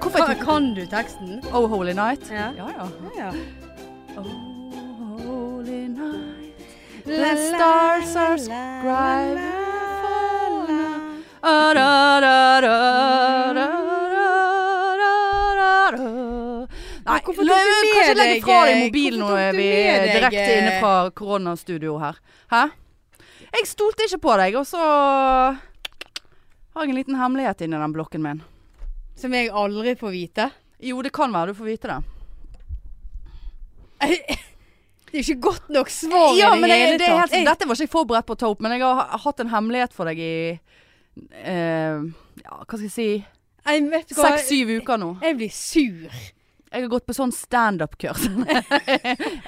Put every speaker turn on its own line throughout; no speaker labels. Kan, kan du teksten?
Oh Holy Night.
Ah, Ja.
ja. ja.
Ja.
Oh Holy Night, the stars are scribing for now. Ah, da, da, da, da, da, da, da. Nei,
hvorfor
la-
tok du
kanskje
med
legge fra deg
deg- eh,
mobilen nå
hvorfor tok
er
du
vi
med deg,
direkte
eh,
inne fra koronastudio her. Hæ? Jeg stolte ikke på deg, og så har jeg en liten hemmelighet inni den blokken min.
Som jeg aldri får vite.
Jo, det kan være du får vite det.
Det er jo ikke godt nok svar
Ja,
i
men
det
jeg,
hele
det er helt,
tatt.
dette var ikke jeg forberedt på å ta opp, men jeg har ha- hatt en hemmelighet for deg i eh, ja, hva skal jeg si
Jeg, jeg, vet du hva?
seks-syv uker nå.
jeg blir sur.
Jeg har gått på sånn standup-kurs. jeg,
Har
har-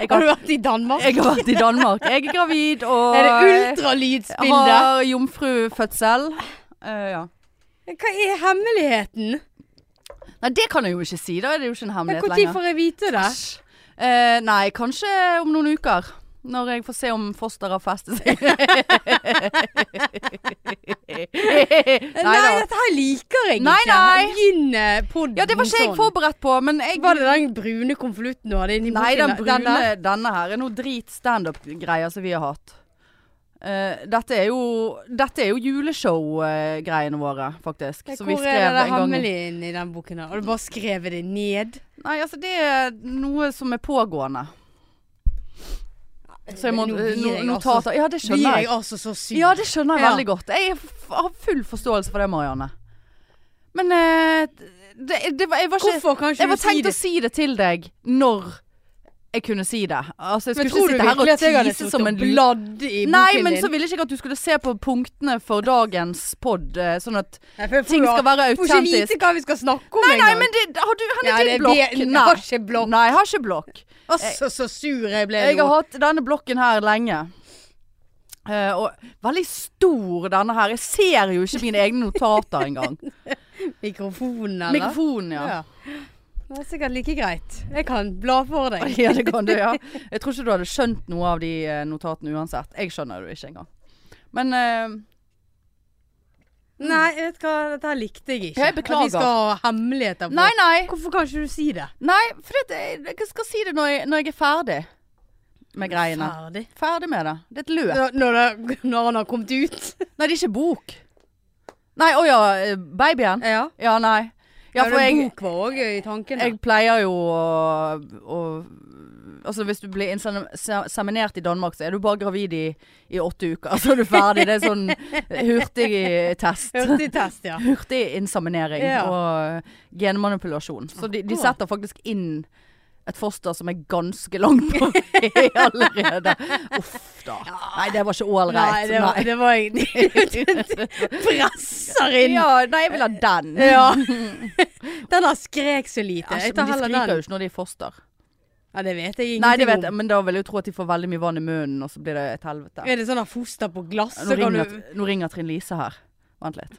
du vært i Danmark?
jeg har vært i Danmark. Jeg er gravid og
er det
eh,
ultralydbilde?
har jomfrufødsel. Eh, ja.
Hva er hemmeligheten?
Nei, det kan jeg jo ikke si. Da er det jo ikke en hemmelighet
Når
lenger.
får jeg vite det?
Æsj. Eh, nei, kanskje om noen uker. Når jeg får se om fosteret har festet seg.
Nei,
Neida.
dette her liker jeg
Nei,
ikke.
nei.
Begynne podden
Ja, det var ikke jeg
sånn.
forberedt på, men jeg
Var det den brune konvolutten du hadde inni
Nei, den
boken?
brune,
der?
denne her er noe drit standup-greier som vi har hatt. Eh, dette er jo, dette er jo juleshow-greiene våre, faktisk. Som vi
Hvor
skrev
er det
en gang. i-
hemmelig inni den boken? der? Har du bare skrevet det ned?
Nei, altså det er noe som er pågående. Så jeg må eh,
Nå blir jeg
no,
altså-
Notater. Ja, det
Blir
skjønner
jeg
jeg.
altså så sur?
Ja, det skjønner jeg
Ja.
veldig godt. Jeg f- har full forståelse for det, Marianne. Men eh, det, det var, jeg var ikke
Hvorfor kan ikke
Jeg
du
var
si
tenkt
det?
å si det til deg når jeg kunne si det. Altså, jeg
Men
skulle ikke sitte her og tise som en lur.
bladd i boken
Nei, men
din?
så ville ikke jeg at du skulle se på punktene for dagens pod, eh, sånn at
Nei, for jeg får
ting
jo-
skal være
Får ikke vite
autentisk.
hva vi skal snakke om
Nei, nei,
engang.
men det, har du, han er
Ja, det
din
er
blokk.
det-
Nei.
har ikke blokk.
Nei, jeg har ikke blokk.
Altså, så sur jeg ble
Jeg
nå.
har hatt denne blokken her lenge. Eh, og veldig stor denne her. Jeg ser jo ikke mine egne notater engang.
Mikrofonen, eller?
Mikrofonen, ja.
Ja. Det er sikkert like greit. Jeg kan bla for deg.
Ja, det kan du, ja. Jeg tror ikke du hadde skjønt noe av de eh, notatene uansett. Jeg skjønner det jo ikke engang. Men eh,
Nei, vet du hva, dette her likte jeg ikke.
Jeg beklager.
At vi skal ha hemmeligheter på.
Nei, nei.
Hvorfor kan ikke du si det?
Nei, for det, jeg jeg skal si det når jeg, når jeg er ferdig med greiene.
Ferdig.
Ferdig med det. Det er et løp.
Når, når, det, når han har kommet ut.
Nei, det er ikke bok. Nei, å ja. eh, Babyen?
Ja.
Ja, nei. Ja, for
en
jeg,
bok var òg i tanken.
jeg pleier jo å, å Altså hvis du blir inseminert i Danmark, så er du bare gravid i, i åtte uker. Så er du ferdig. Det er sånn hurtigtest.
Hurtigtest, ja.
hurtig inseminering
Ja.
og genmanipulasjon. Så de, de
Akkurat.
setter faktisk inn et foster som er ganske langt på vei allerede. Uff da. Nei, det var ikke
Nei,
ålreit.
det var, det var jeg Presser inn!
Ja, nei, jeg vil ha den.
Ja. Den har skrek så lite.
Æsj, altså, men de
Jeg tar heller
skriker
den.
jo ikke når de er foster.
Ja, det vet jeg
Nei, det
ingenting
vet
om.
jeg, men da vil jeg jo tro at de får veldig mye vann i munnen, og så blir det et helvete.
Er det sånn at foster på glass,
Nå
så kan
ringer,
du
nå ringer Trine Lise her. Vent litt.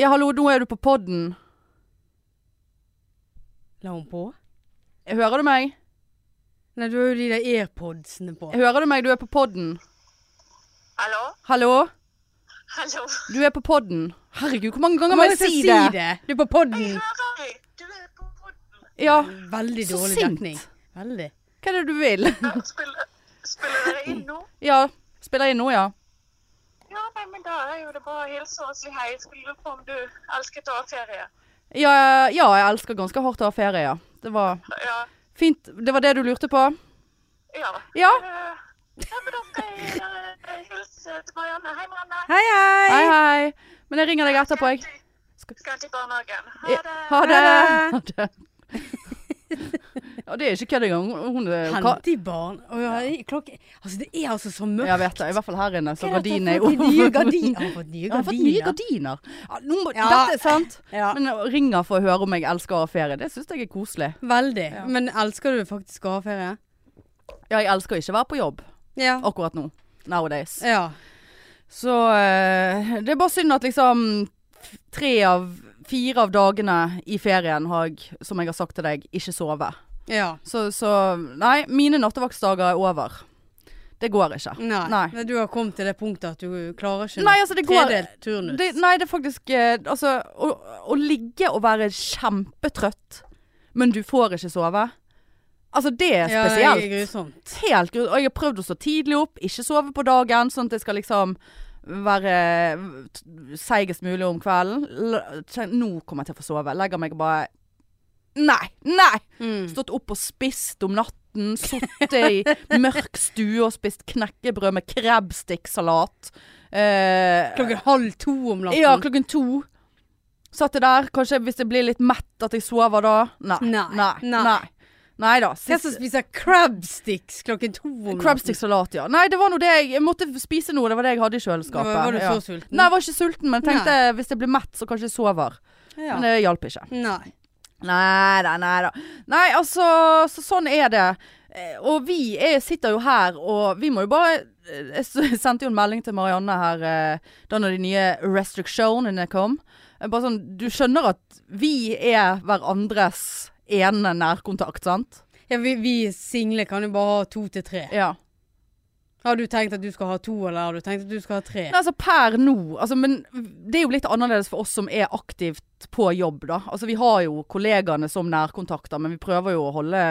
Ja, hallo, nå er du på podden.
La hun på?
Hører du meg?
Nei, du har jo de der airpodsene på.
Hører du meg? Du er på podden.
Hallo?
Hallo?
Hallo?
Du er på podden. Herregud, hvor mange ganger
Kan
må
man
jeg
ikke
si det?
Du er på podden.
Hører deg! Du er på podden.
Ja.
Veldig
Så
dårlig
sint.
dekning. Veldig.
Hva er det du vil?
Spiller, spiller dere inn nå?
Ja. Spiller inn nå, ja.
Ja, nei, men da er jo det bare å hilse og si hei. Skulle lure på om du elsket å ha ferie.
ja. Ja, jeg elsker ganske hardt å ha ferie, ja. Det var
Ja.
fint. Det var det du lurte på?
Ja.
Ja.
Eh, ja, men da skal jeg eh, hilse til Marianne. Hei, Marianne.
Hei, hei.
Hei, hei. Men jeg ringer deg etterpå, jeg.
Skal til barnehagen.
Ja,
Ha det.
Ha det. Ha
Ha
det. Ja, det er ikke kødd engang. Hun- Hun er ka-
Hente i barn. Å, ja, i klokke... Altså, det er altså så mørkt.
Jeg vet det. I hvert fall her inne, så
Hva er dette
gardinene er
for noen Nye
over.
gardiner. Jeg har fått nye
Jeg har fått nye
gardiner.
gardiner. Ja, nå må,
Ja.
Dette er sant.
Ja.
Men å- ringer for å høre om jeg elsker å ha ferie, det syns jeg er koselig.
Veldig.
Ja.
Men elsker du faktisk å ha ferie?
Ja, jeg elsker ikke å være på jobb
Ja.
akkurat nå. Nowadays.
ja.
Så eh, det er bare synd at liksom f- tre av fire av dagene i ferien har jeg, som jeg har sagt til deg, ikke sovet.
Ja.
Så, så nei, mine nattevaktsdager er over. Det går ikke.
Nei.
Nei.
Men du har kommet til det punktet at du klarer ikke
Nei, altså, det går-
tredelt turnus.
Det, nei, det er faktisk eh, Altså, å, å ligge og være kjempetrøtt, men du får ikke sove. Altså, det er
Ja, det
spesielt.
er grusomt.
Helt grus... Og jeg har prøvd å stå tidlig opp, ikke sove på dagen, sånn at jeg skal liksom være t- seigest mulig om kvelden. L kjenn- Nå kommer jeg til å få sove. Legger meg og bare Nei! Nei!
Mm.
Stått opp og spist om natten. Sittet i mørk stue og spist knekkebrød med krebbstikksalat. Eh,
Klokken halv to om natten.
ja, klokken to. Satt jeg der. Kanskje hvis jeg blir litt mett at jeg sover da. Nei.
Nei.
Nei,
Nei.
nei. Nei da.
Hvem som spiser crabsticks klokken to om natten?
Crabstick-salat, ja. Nei, det var nå det jeg, jeg måtte spise noe. Det var det jeg hadde i
Var,
kjøleskapet.
var du
ja.
så sulten?
Nei, jeg var ikke sulten, men tenkte hvis jeg blir mett, så kanskje jeg sover.
ja.
Men det hjalp ikke.
Nei.
Nei da, nei da. Nei, altså, så sånn er det. Eh, Og vi er, sitter jo her, og vi må jo bare eh, Jeg s- sendte jo en melding til Marianne her eh, da når de nye restrictionene kom. Eh, Bare sånn, Du skjønner at vi er hverandres ene nærkontakt, sant?
Ja, vi, vi single kan jo bare ha to til tre.
Ja.
Har du tenkt at du skal ha to, eller har du tenkt at du skal ha tre?
Nei, altså per nå altså, Men det er jo litt annerledes for oss som er aktivt på jobb, da. Altså vi har jo kollegaene som nærkontakter, men vi prøver jo å holde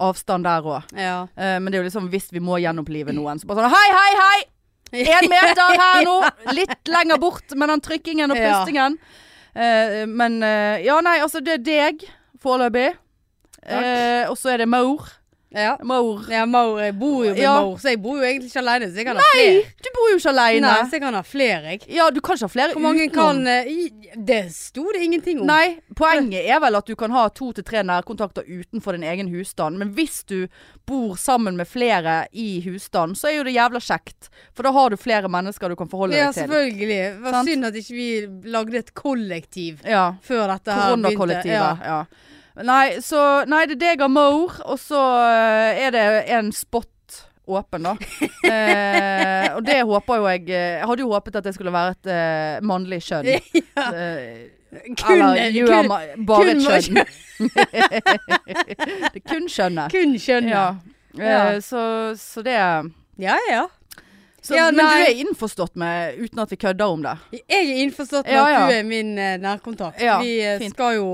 avstand der òg.
Ja.
Eh, men det er jo liksom hvis vi må gjenopplive noen, så bare sånn Hei, hei, hei! Én meter her nå! Litt lenger bort med den trykkingen og
Ja.
pustingen. Eh, men eh, Ja, nei, altså det er deg foreløpig. Eh, og så er det Maur.
Ja.
Maur.
Ja, Maur, jeg bor jo med
Ja.
Maur, så jeg bor jo egentlig ikke alene. Så jeg kan ha
Nei!
flere.
Du bor jo ikke aleine.
Nei, så jeg kan ha flere, jeg.
Ja, du kan ikke ha flere
Hvor mange
utenom.
kan eh, i- Det sto det ingenting om.
Nei, poenget er vel at du kan ha to til tre nærkontakter utenfor din egen husstand. Men hvis du bor sammen med flere i husstand, så er jo det jævla kjekt. For da har du flere mennesker du kan forholde
Ja,
deg til.
selvfølgelig. Det var
Sant?
synd at ikke vi lagde et kollektiv
Ja,
før dette her begynte.
Koronakollektivet. Ja. Nei, så Nei, det er deg og Moore, og så eh, er det en spot åpen, da. eh, og det håper jo jeg eh, Jeg hadde jo håpet at det skulle være et eh, mannlig kjønn. Eh,
Ja. Kun,
eller you are
kun,
my- bare
kun
et
må-
kjønn. det er kun kjønnet.
kun kjønnet.
Ja.
Ja.
Eh, Så, så det
ja, ja.
så,
Ja,
Men
nei.
du er innforstått med, uten at vi kødder om det.
Jeg er innforstått med
Ja,
at du
ja.
er min eh, nærkontakt.
Ja,
vi eh,
fint.
skal jo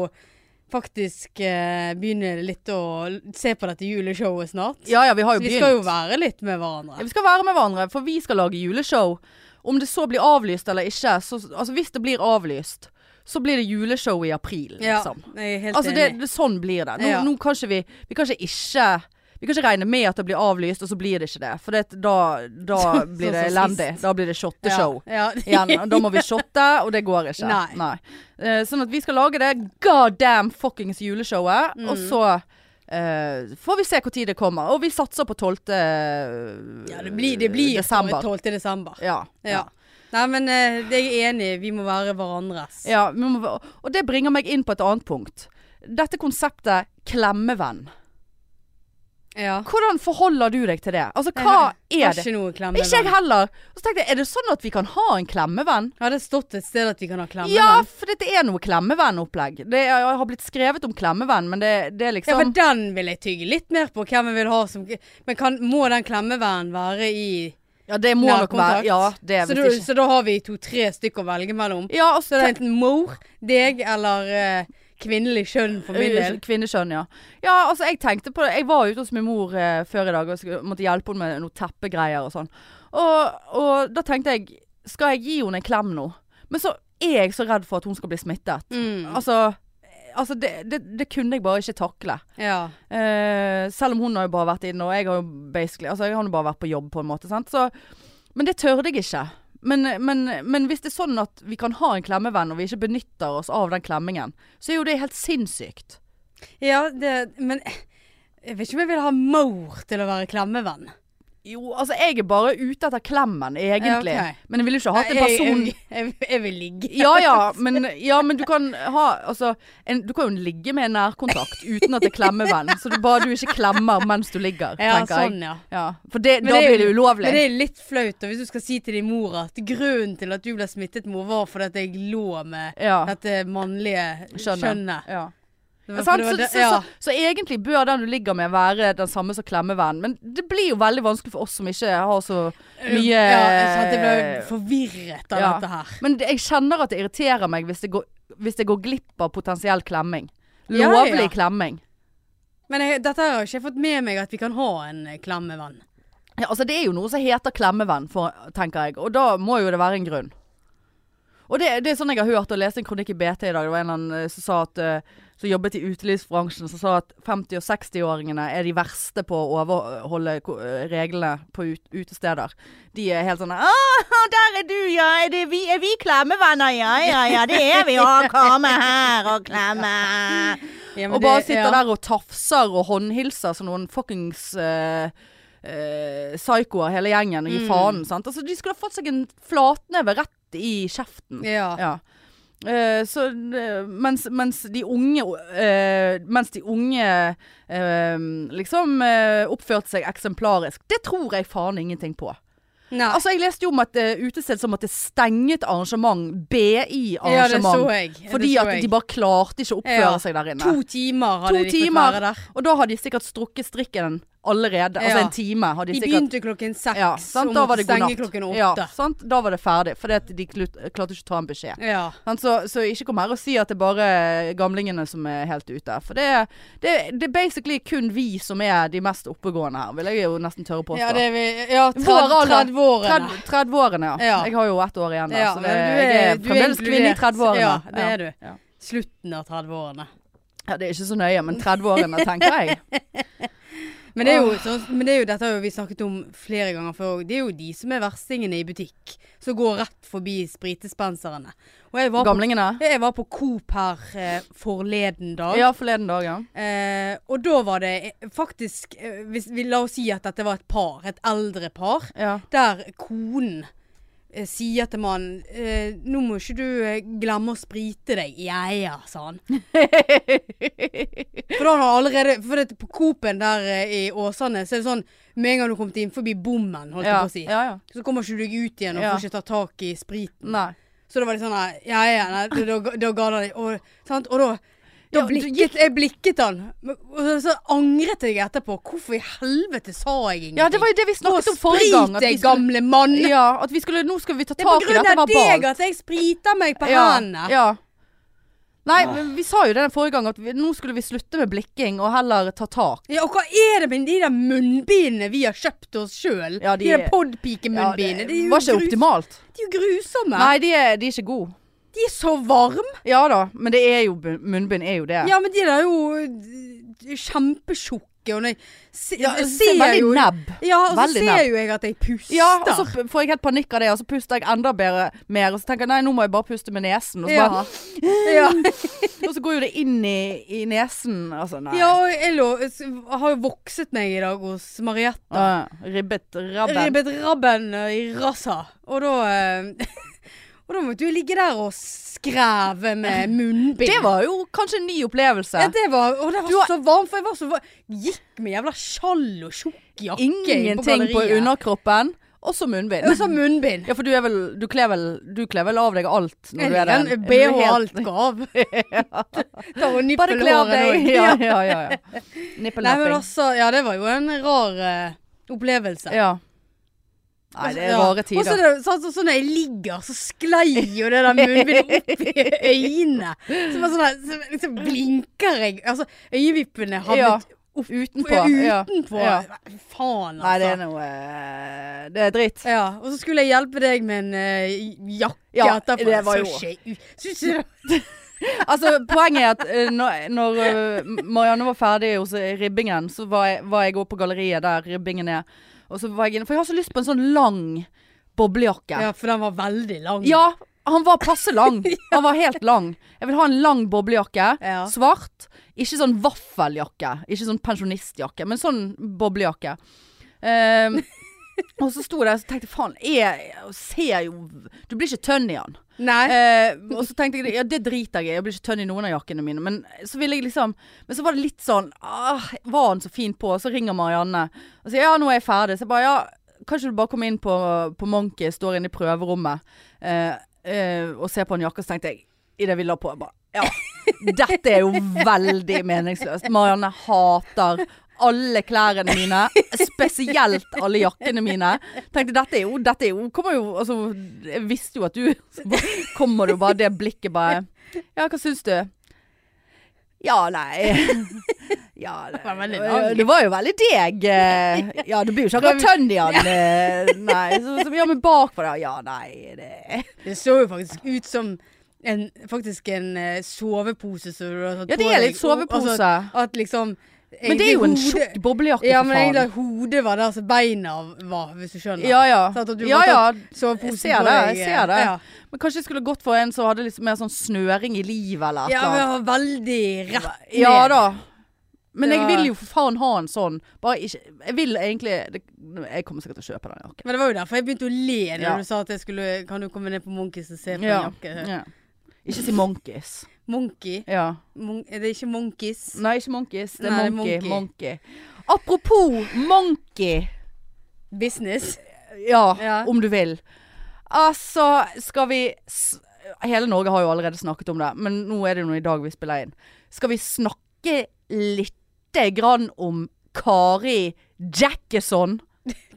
faktisk eh, begynne litt å l- se på dette juleshowet snart.
Ja ja, vi har
Så
jo
vi
begynt.
skal jo være litt
Ja,
med hverandre.
vi skal være med hverandre, for vi skal lage juleshow. Om det så blir avlyst eller ikke, så, altså hvis det blir avlyst, så blir det juleshow i april,
Ja,
liksom.
jeg er helt
Altså det,
enig.
det, sånn blir det. Nå,
Ja.
nå kan ikke vi, vi kan ikke ikke vi kan ikke regne med at det blir avlyst, og så blir det ikke det. For det, da, da
Sånn som
blir det
sist.
elendig. Da blir det shotteshow.
Ja, ja.
Igjen. og Da må vi shotte, og det går ikke.
Nei.
Eh, sånn at vi skal lage det god damn fuckings juleshowet, og
Mm.
så eh, får vi se når det kommer. Og vi satser på 12.
ja, det blir, det blir
desember.
12. desember.
Ja.
Ja. Nei, men eh, det er jeg enig i. Vi må være hverandres.
Ja, vi må, og det bringer meg inn på et annet punkt. Dette konseptet klemmevenn.
Ja.
Hvordan forholder du deg til det? Altså, hva
Har
er det?
Ikke noe klemme.
Ikke jeg heller. Og så tenkte jeg, er det sånn at vi kan ha en klemmevenn?
Har det stått et sted at vi kan ha klemme?
Ja, for dette er noe klemmevenn-opplegg. Det er- jeg har blitt skrevet om klemmevenn, men det, det er
Ja, for
liksom
den vil jeg tygge litt mer på. Hvem jeg vil ha som Men kan, må den klemmevennen være i
Ja, det må nok være
nærkontakt?
Ja, det
så,
vet
da,
jeg ikke.
så da har vi to-tre stykker å velge mellom.
Ja, og så
Så det er enten mor, deg eller eh, kvinnelig kjønn for min del.
Kvinneskjønn, ja. Ja, altså jeg tenkte på det. Jeg var ute hos min mor eh, før i dag og skulle, måtte hjelpe henne med noen teppegreier og sånn. Og, og da tenkte jeg Skal jeg gi henne en klem nå? Men så er jeg så redd for at hun skal bli smittet.
Mm,
Altså, altså det, det, det kunne jeg bare ikke takle.
ja.
Eh, selv om hun har jo bare vært inne, og jeg har jo basically Altså, jeg har jo bare vært på jobb, på en måte. Sant? Så, men det tørde jeg ikke. Men, men, men hvis det er sånn at vi kan ha en klemmevenn, og vi ikke benytter oss av den klemmingen, så er jo det helt sinnssykt.
ja det, men jeg vet ikke om jeg vil ha mor til å være klemmevenn.
Jo, altså jeg er bare ute etter klemmen, egentlig.
Ja, ok.
Men jeg ville ikke hatt en
Nei, jeg-
person
Jeg, jeg, jeg vil ligge.
ja ja, men, ja, men du kan ha Altså, en, du kan jo ligge med en nærkontakt uten at det er klemmevenn. Så du bare du ikke klemmer mens du ligger,
Ja,
tenker jeg.
sånn, ja.
Ja, for det,
Men
da
er
blir det
jo-
ulovlig.
Men det er litt flaut da, hvis du skal si til din mor at grunnen til at du ble smittet, mor, var fordi at jeg lå med
ja,
dette mannlige
skjønner.
skjønnet.
Ja.
Det var-
sant?
det var
Så,
det-
så,
ja.
så, så egentlig bør den du ligger med være den samme som klemmevennen. Men det blir jo veldig vanskelig for oss som ikke har så mye
Ja, sant? Jeg ble forvirret av
Ja.
dette her.
Men det, jeg kjenner at det irriterer meg hvis det går, hvis det går glipp av potensiell klemming.
Ja, ja.
Lovlig klemming.
Men jeg, dette her har jeg ikke fått med meg at vi kan ha en eh, klemmevenn.
Ja, altså det er jo noe som heter klemmevenn, for, tenker jeg. Og da må jo det være en grunn. Og det, det er sånn jeg har hørt og leste en kronikk i BT i dag. Det var en eller annen eh, som sa at eh, som jobbet i utelivsbransjen, som sa at 50- og 60-åringene er de verste på å overholde ko- eh, reglene på ut, utesteder. De er helt sånn Å, der er du, ja. Er, det vi, er vi klemmevenner? Ja, ja, ja. Det er vi. Å, komme her og klemme.
Ja, men
Og bare
det-
sitter
ja.
der og tafser og håndhilser som noen fuckings eh, eh, psykoer hele gjengen og
Mm.
gir faen. Sant? Altså, de skulle ha fått seg en flatneve rett i kjeften.
Ja.
Ja. Eh, så, eh, mens, mens de unge eh, Mens de unge eh, liksom eh, oppførte seg eksemplarisk. Det tror jeg faen ingenting på.
Nei.
Altså Jeg leste jo om et eh, utested som måtte stenge et arrangement.
ja, det så
BI-arrangement.
jeg. Det
fordi
så
at
jeg.
de bare klarte ikke å oppføre
Ja.
seg der inne.
To timer hadde
To
de
timer.
fått være der.
Og da har de sikkert strukket strikken allerede. Altså
Ja.
en time har de,
De
sikkert
begynte klokken seks
ja, sant?
og
Da var
måtte
det god
stenge
natt.
klokken
Ja,
åtte.
sant? Da var det ferdig. Fordi at de klut- klarte ikke å ta en beskjed.
Ja.
Sant? Så, så ikke kom her og si at det er bare gamlingene som er helt ute. For det, det, det er basically kun vi som er de mest oppegående her, vil jeg jo nesten tørre påstå.
Ja, det er vi, ja
Vår alder.
30-årene.
30 30-årene, ja.
Ja.
Jeg har jo ett år igjen. da,
Ja,
så
men
det,
du er-
jeg er
du er
fremdeles kvinne i
inkludert.
30-årene.
Ja, det er du.
Ja.
Slutten av 30-årene.
ja, det er ikke så nøye, men 30-årene, tenker jeg.
Men det, er jo, sånn- men det er jo dette har jo vi snakket om flere ganger før òg. Det er jo de som er verstingene i butikk. Som går rett forbi spritdispenserne. Og jeg var, på,
Gamlingene.
jeg var på Coop her eh, forleden dag.
Ja, forleden dag, ja.
Eh, og da var det eh, faktisk eh, hvis vi La oss si at dette var et par. Et eldre par.
ja.
Der konen eh, sier til mannen eh, 'Nå må ikke du eh, glemme å sprite deg.' 'Ja ja', sa han. For da har han allerede For det, på Coop-en der eh, i Åsane, så er det sånn Med en gang du har kommet inn forbi bommen, holdt jeg
ja.
på å si,
ja, ja.
så kommer ikke du deg ut igjen og
Ja.
får ikke ta tak i spriten.
Nei.
Så da var det sånn nei, Ja ja, nei, da- da, ga- da ga han deg og, sant? og da
Ja,
da
du
blikket, jeg blikket han, men- og så, så angret jeg etterpå. Hvorfor i helvete sa jeg ingenting?
Ja, det var jo det vi
Nå
snakket om forrige gang.
sprit deg, gamle mann!
Ja, eh, at vi skulle, nå skal vi ta
Det er på
tak i
grunn
dette
av deg
verbalt.
at jeg spriter meg på
Ja,
hendene.
ja. Nei, men vi sa jo det den forrige gang at vi, nå skulle vi slutte med blikking og heller ta tak.
Ja, og hva er det med de der munnbindene vi har kjøpt oss sjøl?
Ja, de-
de, der podpikemunnbindene.
det
de er jo
var ikke
grus-
optimalt.
De er jo grusomme.
Nei, de er, de er ikke gode.
De er så varme.
Ja da, men det er jo bu- munnbind er jo det.
Ja, men de der er jo kjempetjukke. Og når jeg se,
Ja,
jeg
det ser
ser
veldig
jo
nebb.
Ja, og så
Veldig
ser
nebb.
jo jeg at jeg puster.
Ja, altså, og så p- får jeg helt panikk av det, og så puster jeg enda bedre mer. Og så tenker jeg nei, nå må jeg bare puste med nesen. Og så,
Ja.
bare,
ja.
og så går jo det inn i, i nesen. Altså, nei.
ja, og jeg lå, s- har jo vokset meg i dag hos Marietta.
Ah, ribbet rabben.
Ribbet rabben eh, i rassa. Og da eh, Og da måtte jo ligge der og skreve med munnbind.
Det var jo kanskje en ny opplevelse.
Ja, det var, og det var
Du har-
så varmt, for jeg var så varm. Gikk med jævla skjall og tjukk jakke inn på
Ingenting på,
galleriet.
underkroppen, og så munnbind.
Og så munnbind.
Ja, for du, er vel, du, kler vel, du kler vel av deg alt når du er
Jeg
der?
liker en
Er
BH
du helt-
alt gav. Da var
Bare kle av
nippelhåret
deg.
òg.
Ja, ja, ja. ja.
Nei, men
Nippelnapping.
altså, ja, det var jo en rar eh, opplevelse.
Ja. Nei, det er
Altså, Ja.
rare
Og så er
tider.
det sånn så, så når jeg ligger, så sklei jo det der munnbindet opp i øynene. Så bare sånn der, så liksom blinker jeg. Altså, øyevippene havnet
Ja.
opp,
Utenpå, ja.
utenpå.
Ja.
Faen, altså.
Nei, det er noe eh, Det er dritt.
Ja, og så skulle jeg hjelpe deg med en eh, jakke
Ja,
etterpå.
det var jo-
Så ikke ut. Syns du det?
Altså, poenget er at eh, når, når eh, Marianne var ferdig hos eh, ribbingen, så var jeg, var jeg også på galleriet der ribbingen er. Og så var jeg inne, For jeg har så lyst på en sånn lang boblejakke.
Ja, for den var veldig lang.
Ja, han var passe lang. Han var helt lang. Jeg vil ha en lang boblejakke.
Ja.
Svart. Ikke sånn vaffeljakke. Ikke sånn pensjonistjakke, men sånn boblejakke. Ehm, og så sto jeg der og så tenkte jeg, faen, jeg ser jo Du blir ikke tønn i han.
Nei.
Ehm, og så tenkte jeg ja, det driter jeg i. Jeg blir ikke tønn i noen av jakkene mine. Men så ville jeg liksom Men så var det litt sånn ah, Var han så fin på? Og så ringer Marianne og sier ja, nå er jeg ferdig. Så jeg bare ja, kanskje du bare kommer inn på, på Monkey, står inne i prøverommet eh, eh, og ser på en jakke. Og så tenkte jeg, idet vi la på jeg bare, Ja. Dette er jo veldig meningsløst. Marianne hater alle klærne mine, spesielt alle jakkene mine. Tenkte dette er jo, dette er jo, kommer jo altså, Jeg visste jo at du så bare Kommer du bare det blikket bare Ja, hva syns du? Ja, nei Ja, det,
var veldig
var-
lang.
det var jo veldig deg. eh, Ja, det blir jo ikke akkurat Tøndian. eh, Nei, så, så, ja, men bakpå der. Ja, nei, det
Det så jo faktisk ut som en, faktisk en eh, sovepose. som du har tatt
Ja, det
på
er
deg.
litt sovepose.
Og- altså, at liksom
Altså, Men det er jo en tjukk boblejakke,
Ja,
for
men egentlig
faen.
at hodet var der som beina var, hvis du skjønner.
Ja, ja.
Sånn at du
ja,
måtte
ja.
ha soveposen
Jeg ser
på
det.
deg,
Jeg ser det.
ja.
Men kanskje jeg skulle gått for en som hadde litt mer sånn snøring i livet, eller et
Ja,
eller
men
annet.
var veldig rett ned.
Ja da. Men
Det
jeg
var-
vil jo for faen ha en sånn. Bare ikke Jeg vil egentlig det, Jeg kommer sikkert til å kjøpe den jakken.
Men det var jo derfor jeg begynte å le da
Ja.
du sa at jeg skulle Kan du komme ned på Monkeys og se på en jakke?
Ja. Ikke si monkeys.
Monkey?
Ja.
Mon er det ikke Monkeys?
Nei, ikke monkeys. Det er
Nei,
monkey,
monkey.
monkey. Apropos monkey.
Business?
Ja,
Ja.
om du vil. Altså, skal vi s Hele Norge har jo allerede snakket om det, men nå er det nå i dag vi spiller inn. Skal vi snakke lite grann om Kari Jackison?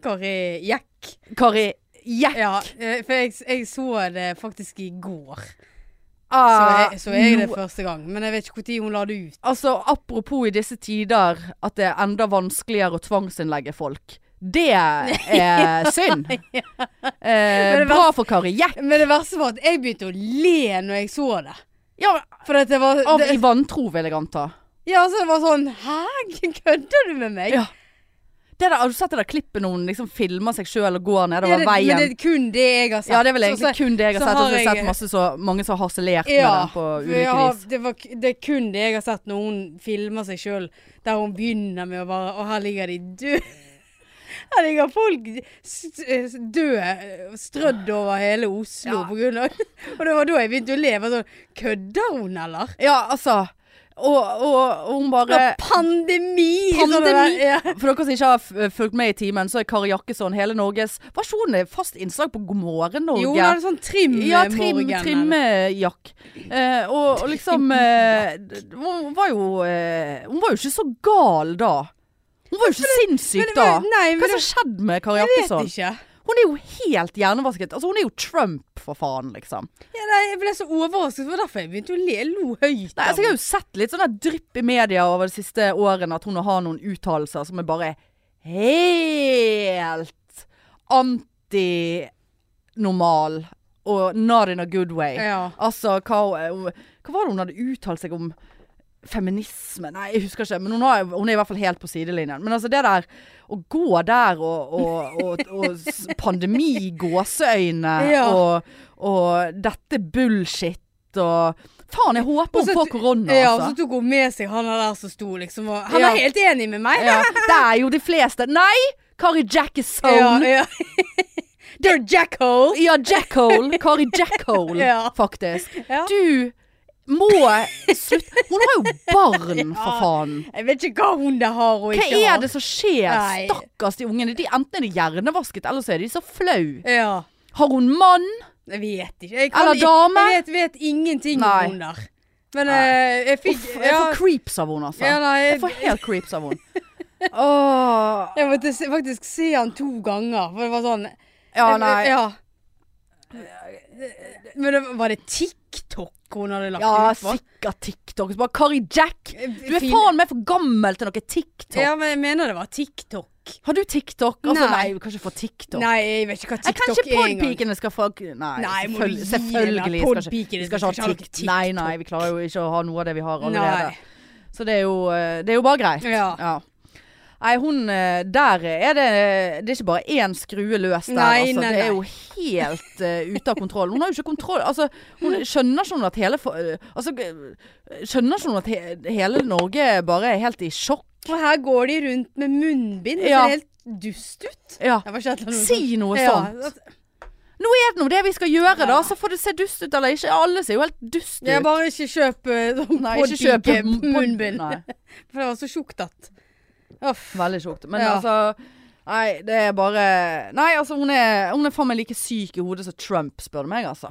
Kari Jack?
Kari Jack...
Ja, eh, for jeg, jeg så det faktisk i går. Så
ah,
jeg, så jeg det
nå-
første gang, men jeg vet ikke når hun la det ut.
Altså, apropos i disse tider at det er enda vanskeligere å tvangsinnlegge folk. Det er synd. eh,
Men det var-
bra for Kari Jack.
Men det verste var at jeg begynte å le når jeg så det.
Ja,
For at det var
av i
det,
vantro, vil jeg anta.
Ja, så det var sånn Hæ, kødder du med meg?
Ja, Det der, har du sett det der klippet når hun liksom filmer seg sjøl og går
Ja,
nedover
det, men
veien?
det er kun det jeg har sett.
ja, det er vel egentlig
Så- så-
kun det jeg har
så
sett. Og så har jeg
har
sett
jeg-
masse så, mange som har harselert med
ja,
den på
for jeg
ulike
har,
vis.
det, var, k- det er kun det jeg har sett når hun filmer seg sjøl, der hun begynner med å bare Og her ligger de døde. Her ligger folk s- s- døde, strødd over hele Oslo
Ja.
på grunn av Og det var da jeg begynte å le. Jeg var Sånn, kødder hun, eller?
Ja, altså. Og, og, og hun bare
Ja, pandemi!
Pandemi!
sånn det der, ja.
For dere som ikke har f- fulgt med i timen, så er Kari Jakkesson hele Norges Var ikke hun fast innslag på God morgen Norge?
Jo, hun hadde sånn trim
ja, trim,
morgen, eller?
trimmejakk. Eh, og, og liksom eh, d- Hun var jo eh, Hun var jo ikke så gal da. Hun var jo ikke sinnssyk
men-
da.
men- nei,
Hva er
men det-
det som skjedde med Kari
Jeg vet
Jakkesson?
ikke.
Hun er jo helt hjernevasket. Altså, hun er jo Trump, for faen, liksom.
Ja, nei, jeg ble så overrasket, for derfor jeg begynte å le. Jeg lo høyt.
Nei,
av
altså, jeg har jo sett litt sånn der drypp i media over de siste årene at hun har noen uttalelser som er bare helt antinormal og not in a good way.
henne. ja.
Altså, hva, hun- hva var det hun hadde uttalt seg om? Feminisme? Nei, jeg husker ikke. Men hun, har, hun er i hvert fall helt på sidelinjen. Men altså, det der å gå der og, og, og, og s- pandemi, gåseøyne
Ja.
og, og dette bullshit og Faen, jeg håper
Og
hun
så-
får korona,
ja, og så
altså.
tok hun med seg han der som sto liksom og Han
Ja.
er helt enig med meg!
Ja, det er jo de fleste. Nei! Kari Jackison. Ja,
Ja, ja. They're jackhole!
Jackhole. Kari Jackhole,
Ja.
faktisk.
Ja.
Du må slutte Hun har jo barn, for
Ja.
faen.
Jeg vet ikke hva hun der har og
Hva
ikke har.
er det som skjer?
Nei.
Stakkars de ungene. De enten er de hjernevasket, eller så er de så flau.
Ja.
Har hun mann?
Jeg vet ikke. Jeg
Eller dame?
Jeg vet, vet ingenting
Nei.
om hun der. Men
Nei.
eh, jeg fikk
Uff, jeg
ja,
får creeps av henne, altså.
ja, nei,
Jeg får helt creeps av henne. Åh.
Jeg måtte se, faktisk se han to ganger, for det var sånn
Ja, nei.
Ja. Men det, var det TikTok hun hadde lagt
Ja,
ut? på?
sikkert TikTok. Så bare Kari Jack, du er
Eh, Fin-
faen meg for gammel til noe TikTok.
Ja, men jeg mener det var TikTok.
Har du TikTok? Altså,
Nei.
nei, du kan ikke få TikTok.
Nei, jeg vet ikke hva
Jeg kan
TikTok
ikke
er engang.
podpikene skal få Nei,
Nei, må du
selvfølgelig.
gi deg,
selvfølgelig. Vi skal ikke,
podpikene
vi skal ikke ha TikTok. Nei, nei, vi klarer jo ikke å ha noe av det vi har allerede.
Nei.
Så det er jo, eh, det er jo bare greit.
Ja.
Nei, hun eh, Der er det Det er ikke bare én skrue løs der,
Nei,
altså.
nei,
det er
nei.
jo helt eh, ute av kontroll. Hun har jo ikke kontroll Altså, hun skjønner ikke hun at hele for- eh, Altså, eh, skjønner ikke hun at he, hele Norge bare er helt i sjokk?
Og her går de rundt med munnbind, og
Ja.
ser helt dust ut.
Ja.
Jeg var ikke helt enig med
Si noe
Ja,
sånt.
at-
Nå er det nå det vi skal gjøre, da.
Ja.
Så får det se dust ut eller ikke. Alle ser jo helt dust ut.
Jeg bare ikke kjøp eh, sånn
Nei, ikke kjøp
podpike
pod-
munnbind.
Nei.
For det var så tjukt at Uff.
Veldig sjukt. Men
Ja.
altså Nei, det er bare Nei, altså, hun er, hun er faen meg like syk i hodet som Trump, spør du meg, altså.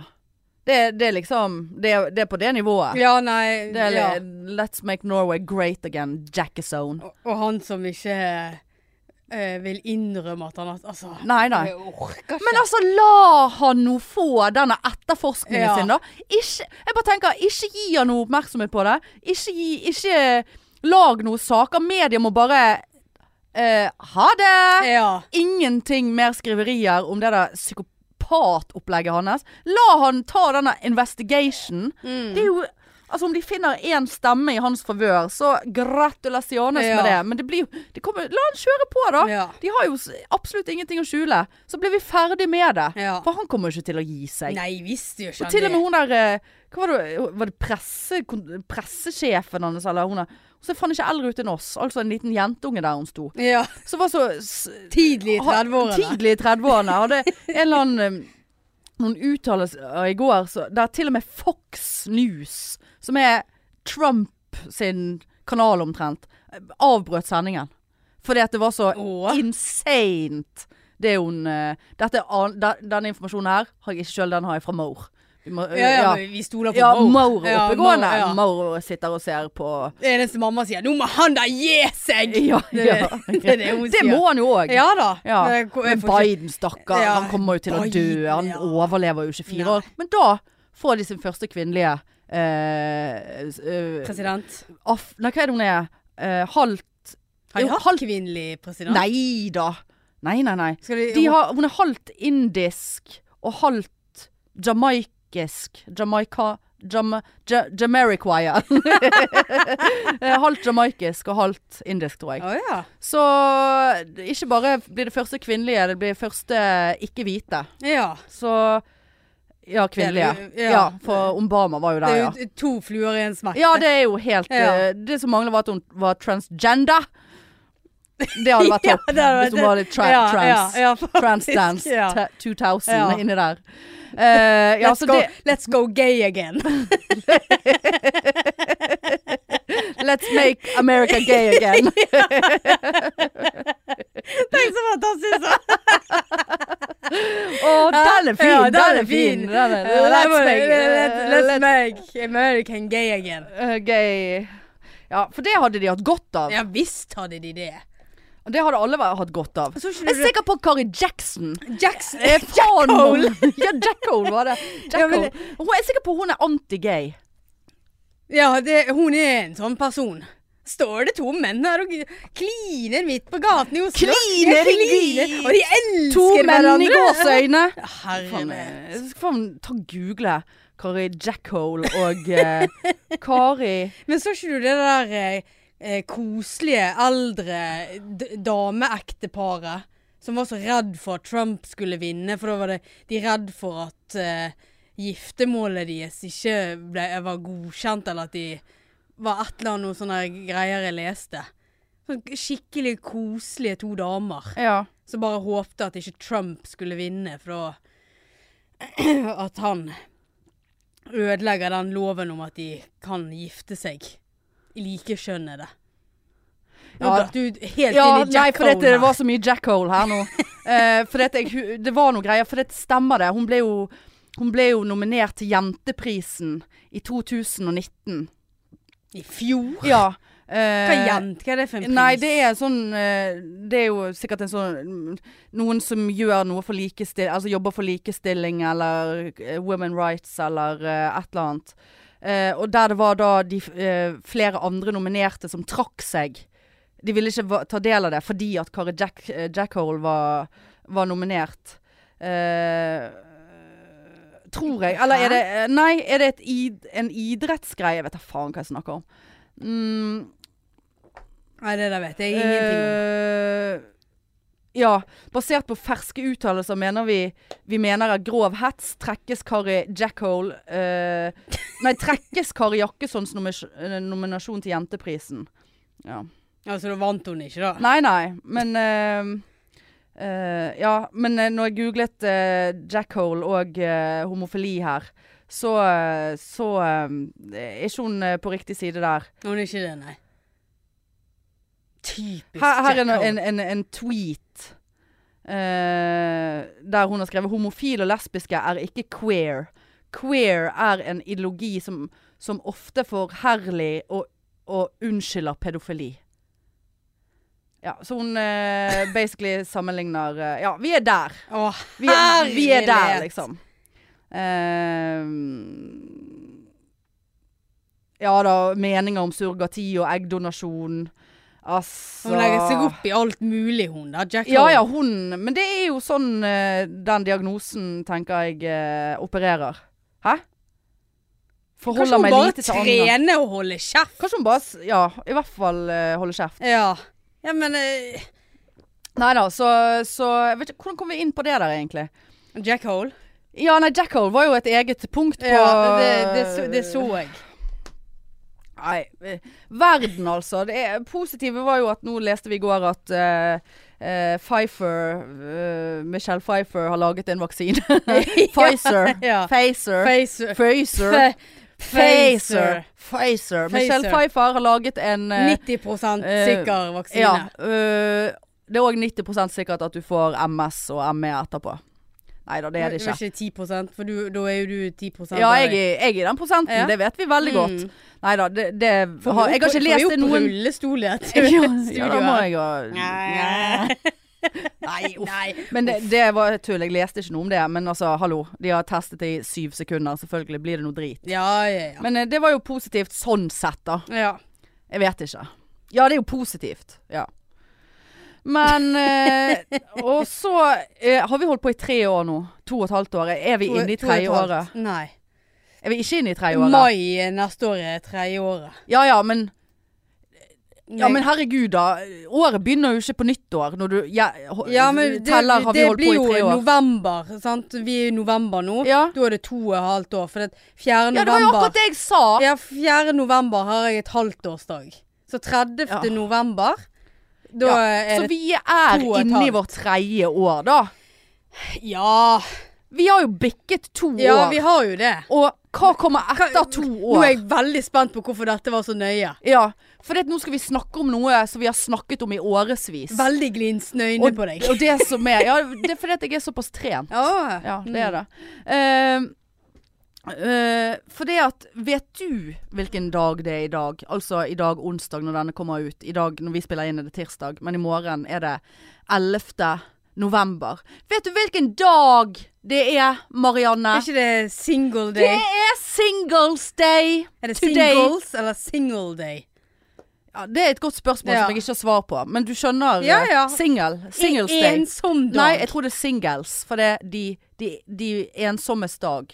Det, det er liksom det, det er på det nivået.
Ja, nei
Det er
ja.
li- Let's make Norway great again, Jackazone.
Og, og han som ikke eh, vil innrømme at han har Altså,
Nei, nei.
jeg orker ikke.
Men altså, la han nå få denne etterforskningen
Ja.
sin, da. Ikke, jeg bare tenker, ikke gi han noe oppmerksomhet på det. Ikke gi Ikke lag noen saker. Media må bare eh, Ha det!
ja.
Ingenting mer skriverier om det der psykopatopplegget hans. La han ta denne investigation.
Mm.
Det er jo Altså, om de finner én stemme i hans favør, så gratulasjones
Ja.
med det. Men det blir jo det kommer, La han kjøre på, da!
Ja.
De har jo s- absolutt ingenting å skjule. Så blir vi ferdig med det.
Ja.
For han kommer jo ikke til å gi seg.
Nei, visste jo ikke
og til og med hun der eh, Hva var det, var det presse, kon- pressesjefen hans, eller hun der? Hun ser faen ikke eldre ut enn oss. Altså en liten jentunge der hun sto.
Ja.
Som var så s-
Tidlig i
ha-
30-årene.
Tidlig i 30-årene. Hadde en eller annen eh, noen uttalelser eh, i går så, der til og med Fox News, som er Trump sin kanal omtrent, eh, avbrøt sendingen. Fordi at det var så
Åh.
insanet. Det er hun eh, dette, er an- da- Denne informasjonen her har jeg ikke sjøl, den har jeg fra Maur. Vi må,
Ja, ja,
ja.
men vi stoler på
Ja, Maur
Maur.
er oppegående.
Maur, ja.
Maur sitter og ser på
Det eneste mamma sier 'nå må han da gi seg'!
Ja,
Det-
ja.
det er det hun sier.
må han jo òg.
Ja da.
Ja.
Men jeg- jeg
Men
får ikke-
Biden, stakkar,
Ja,
han kommer jo til å dø.
Biden,
Han
ja.
overlever jo ikke fire
Nei.
år. Men da får de sin første kvinnelige eh, s- eh,
President.
af, Nei, hva er det hun er? Eh, halvt
Har de
Jo,
hatt
halvt-
kvinnelig president?
Nei da! Nei, nei, nei.
Skal de,
De har, hun er halvt indisk og halvt jamaikisk. Jamaica... Jam, ja, Jamaiquire. halvt jamaikisk og halvt indisk, tror jeg.
Å ja.
Så eh, ikke bare blir det første kvinnelige, det blir første ikke-hvite.
ja.
Så Ja, kvinnelige.
Ja.
Ja, for Obama var jo der,
Det er
ja.
jo t- to fluer i en smekk.
Ja, det er jo helt
Ja.
eh, Det som mangler, var at hun var transgender. Det hadde vært
Ja,
topp.
det hadde vært
Hvis hun var litt tra
Ja, ja,
trans.
ja, faktisk,
Transdance
ja.
ta- 2000
Ja.
inni der. Eh, ja,
Let's,
så
go,
det,
let's go gay again.
let's make America gay again.
Tenk så fantastisk! da.
Å, den er fin!
Ja,
den er fin! Den er,
Eh,
let's make,
let's, let's make American gay again.
Eh, gay Ja, for det hadde de hatt godt av.
Ja visst hadde de det.
Og Det hadde alle vært- hatt godt av.
Så ikke
Jeg
du Eh,
er sikker på at Kari Jackson
Jackson
er Eh, faen Hole! ja, Jack Hole var det. Jack
Ja, men-
Hole. Hun er sikker på at hun er anti-gay.
Ja, det, hun er en sånn person. Står det to menn her og kliner midt på gaten i Oslo?
Kliner
Ja,
i-
Og de elsker
To menn i
hverandre!
gåseøyne.
Herre
Faen,
min.
eh, jeg skal faen ta og google Kari Jackhole og eh, Kari
Men så ikke du det der eh, eh, koselige eldre d- dameekteparet som var så redd for at Trump skulle vinne, for da var det de redd for at eh, giftermålet deres ikke ble, var godkjent, eller at de var et eller annet noe sånne greier jeg leste. Sånn skikkelig koselige to damer
Ja.
som bare håpte at ikke Trump skulle vinne, for da At han ødelegger den loven om at de kan gifte seg likekjønnede. Nå
Ja.
datt du helt
ja
inn i
nei,
Jack
for dette, det
Hole
var så mye Jackhole her nå. Eh, for dette, jeg hu- det var noe greier. For det stemmer det. Hun ble jo, hun ble jo nominert til Jenteprisen i 2019.
I fjor?
Ja. eh,
Hva jent? Hva er det for en pris?
Nei, det er sånn eh, Det er jo sikkert en sånn mm, Noen som gjør noe for likestilling Altså jobber for likestilling eller eh, women rights eller eh, et eller annet. Eh, og der det var da de f- eh, flere andre nominerte som trakk seg. De ville ikke va ta del av det fordi at Kari Jack eh, Jackhole var, var nominert. Eh, tror jeg. Eller er det eh, Nei, er det et id en idrettsgreie? Jeg vet da faen hva jeg snakker om. Mm,
Nei, det der vet jeg ingenting om.
Eh, ja, basert på ferske uttalelser mener vi Vi mener at grov hets trekkes Kari Jackhole eh, Nei, trekkes Kari Jakkessons nomis- eh, nominasjon til Jenteprisen. Ja.
Altså, da vant hun ikke, da.
Nei, nei, men eh, eh, Ja, men eh, når jeg googlet eh, Jackhole og eh, homofili her, så, eh, så eh, er ikke hun eh, på riktig side der.
Hun er ikke det, nei. Typisk
Her, her er
Jack
en, en,
Hole.
en, en tweet eh, der hun har skrevet 'Homofile og lesbiske er ikke queer'. queer er en ideologi som, som ofte forherlig og, og unnskylder pedofili. Ja, så hun eh, basically sammenligner eh, Ja, vi er der.
Å,
Vi
Ah,
er, vi er der,
herlighet.
liksom. Ehm, ja da, meninger om surrogati og eggdonasjon. Altså
Hun legger seg opp i alt mulig, hun da. Jack
Ja ja,
Horn.
hun. Men det er jo sånn eh, den diagnosen, tenker jeg, eh, opererer. Hæ?
Kanskje
Forholder
hun
meg
bare
lite til andre.
trener og holder kjeft?
Kanskje hun bare s- Ja, i hvert fall eh, holder kjeft.
Ja. ja, men eh,
Nei da, så, så jeg vet ikke, Hvordan kom vi inn på det der, egentlig?
Jack Hole?
Ja, nei, Jackal var jo et eget punkt på
Ja, det, det, så, det så jeg.
Nei, eh, verden altså. Det er, positive var jo at nå leste vi i går at eh, eh, Pfeiffer, eh, Michelle Pfeiffer har laget en vaksine. Pfizer.
Ja.
Pfizer.
Face,
Pfizer. Pfizer.
Pfizer.
Pfizer. Michelle Pfeiffer har laget en eh,
90 sikker vaksine.
ja, eh, det er òg 90 sikkert at du får MS og ME etterpå. Nei da, det er det ikke.
Ikke 10 for du, da er jo du 10
Ja,
av
jeg,
deg.
er- jeg er i den prosenten.
Ja.
Det vet vi veldig godt.
Mm.
Nei da, det, det har, Jeg har ikke
Får vi
lest
opp
det noen
rullestol i et
ja,
studio
ja, da må
her?
jeg
Nei.
jo Nei, uff.
Nei.
Men det, det var tull. Jeg leste ikke noe om det. Men altså, hallo. De har testet det i syv sekunder. Selvfølgelig blir det noe drit.
Ja, ja,
Men eh, det var jo positivt sånn sett, da.
ja. ja.
Jeg vet ikke. Ja, det er jo positivt. Ja. Men eh, Og så eh, har vi holdt på i tre år nå. To og et halvt år. Er vi
To-
inne i
to og et
tredje
halvt.
året?
Nei.
Er vi ikke inne i tredje året?
Mai neste år er tredje året.
Ja ja, men, ja,
Nei.
men herregud, da. Året begynner jo ikke på nyttår når du ja, ho-
Ja, men det,
teller har vi
det
holdt
blir
på i
jo
tre år.
november, sant? Vi er i november nå.
Ja.
Da er det to og et halvt år. For det, 4.
ja, det var jo
november
akkurat det jeg sa.
Ja, 4. november har jeg et halvtårsdag. Så 30.
Ja.
november Da
Ja,
er
Så
det
vi er
to og et
inne i
halvt.
vårt tredje år, da.
Ja,
Vi har jo bikket to
ja
år.
vi har jo det.
Og hva kommer etter
Hva-
to
Nå er
år?
jeg veldig spent på hvorfor dette var så nøye.
Ja, for det, at nå skal vi snakke om noe som vi har snakket om i årevis.
Veldig glinsende øyne
og,
på deg.
og det som er Ja, det er fordi at jeg er såpass trent.
Ja.
Ja, det
Mm.
er det. Eh, eh, for det at Vet du hvilken dag det er i dag? Altså i dag onsdag når denne kommer ut. I dag når vi spiller inn er det tirsdag, men i morgen er det 11. november. Vet du hvilken dag det er, Marianne?
mm. Er ikke det single
Det
day?
er singles day!
Er det
today.
singles eller single day?
Ja, det er et godt spørsmål
Ja.
som jeg ikke har svar på, men du skjønner.
Ja, ja.
eh, Single. Singles
En-
day.
Ensom dag.
Nei, jeg tror det er singles, for det er de, de, de ensommes dag.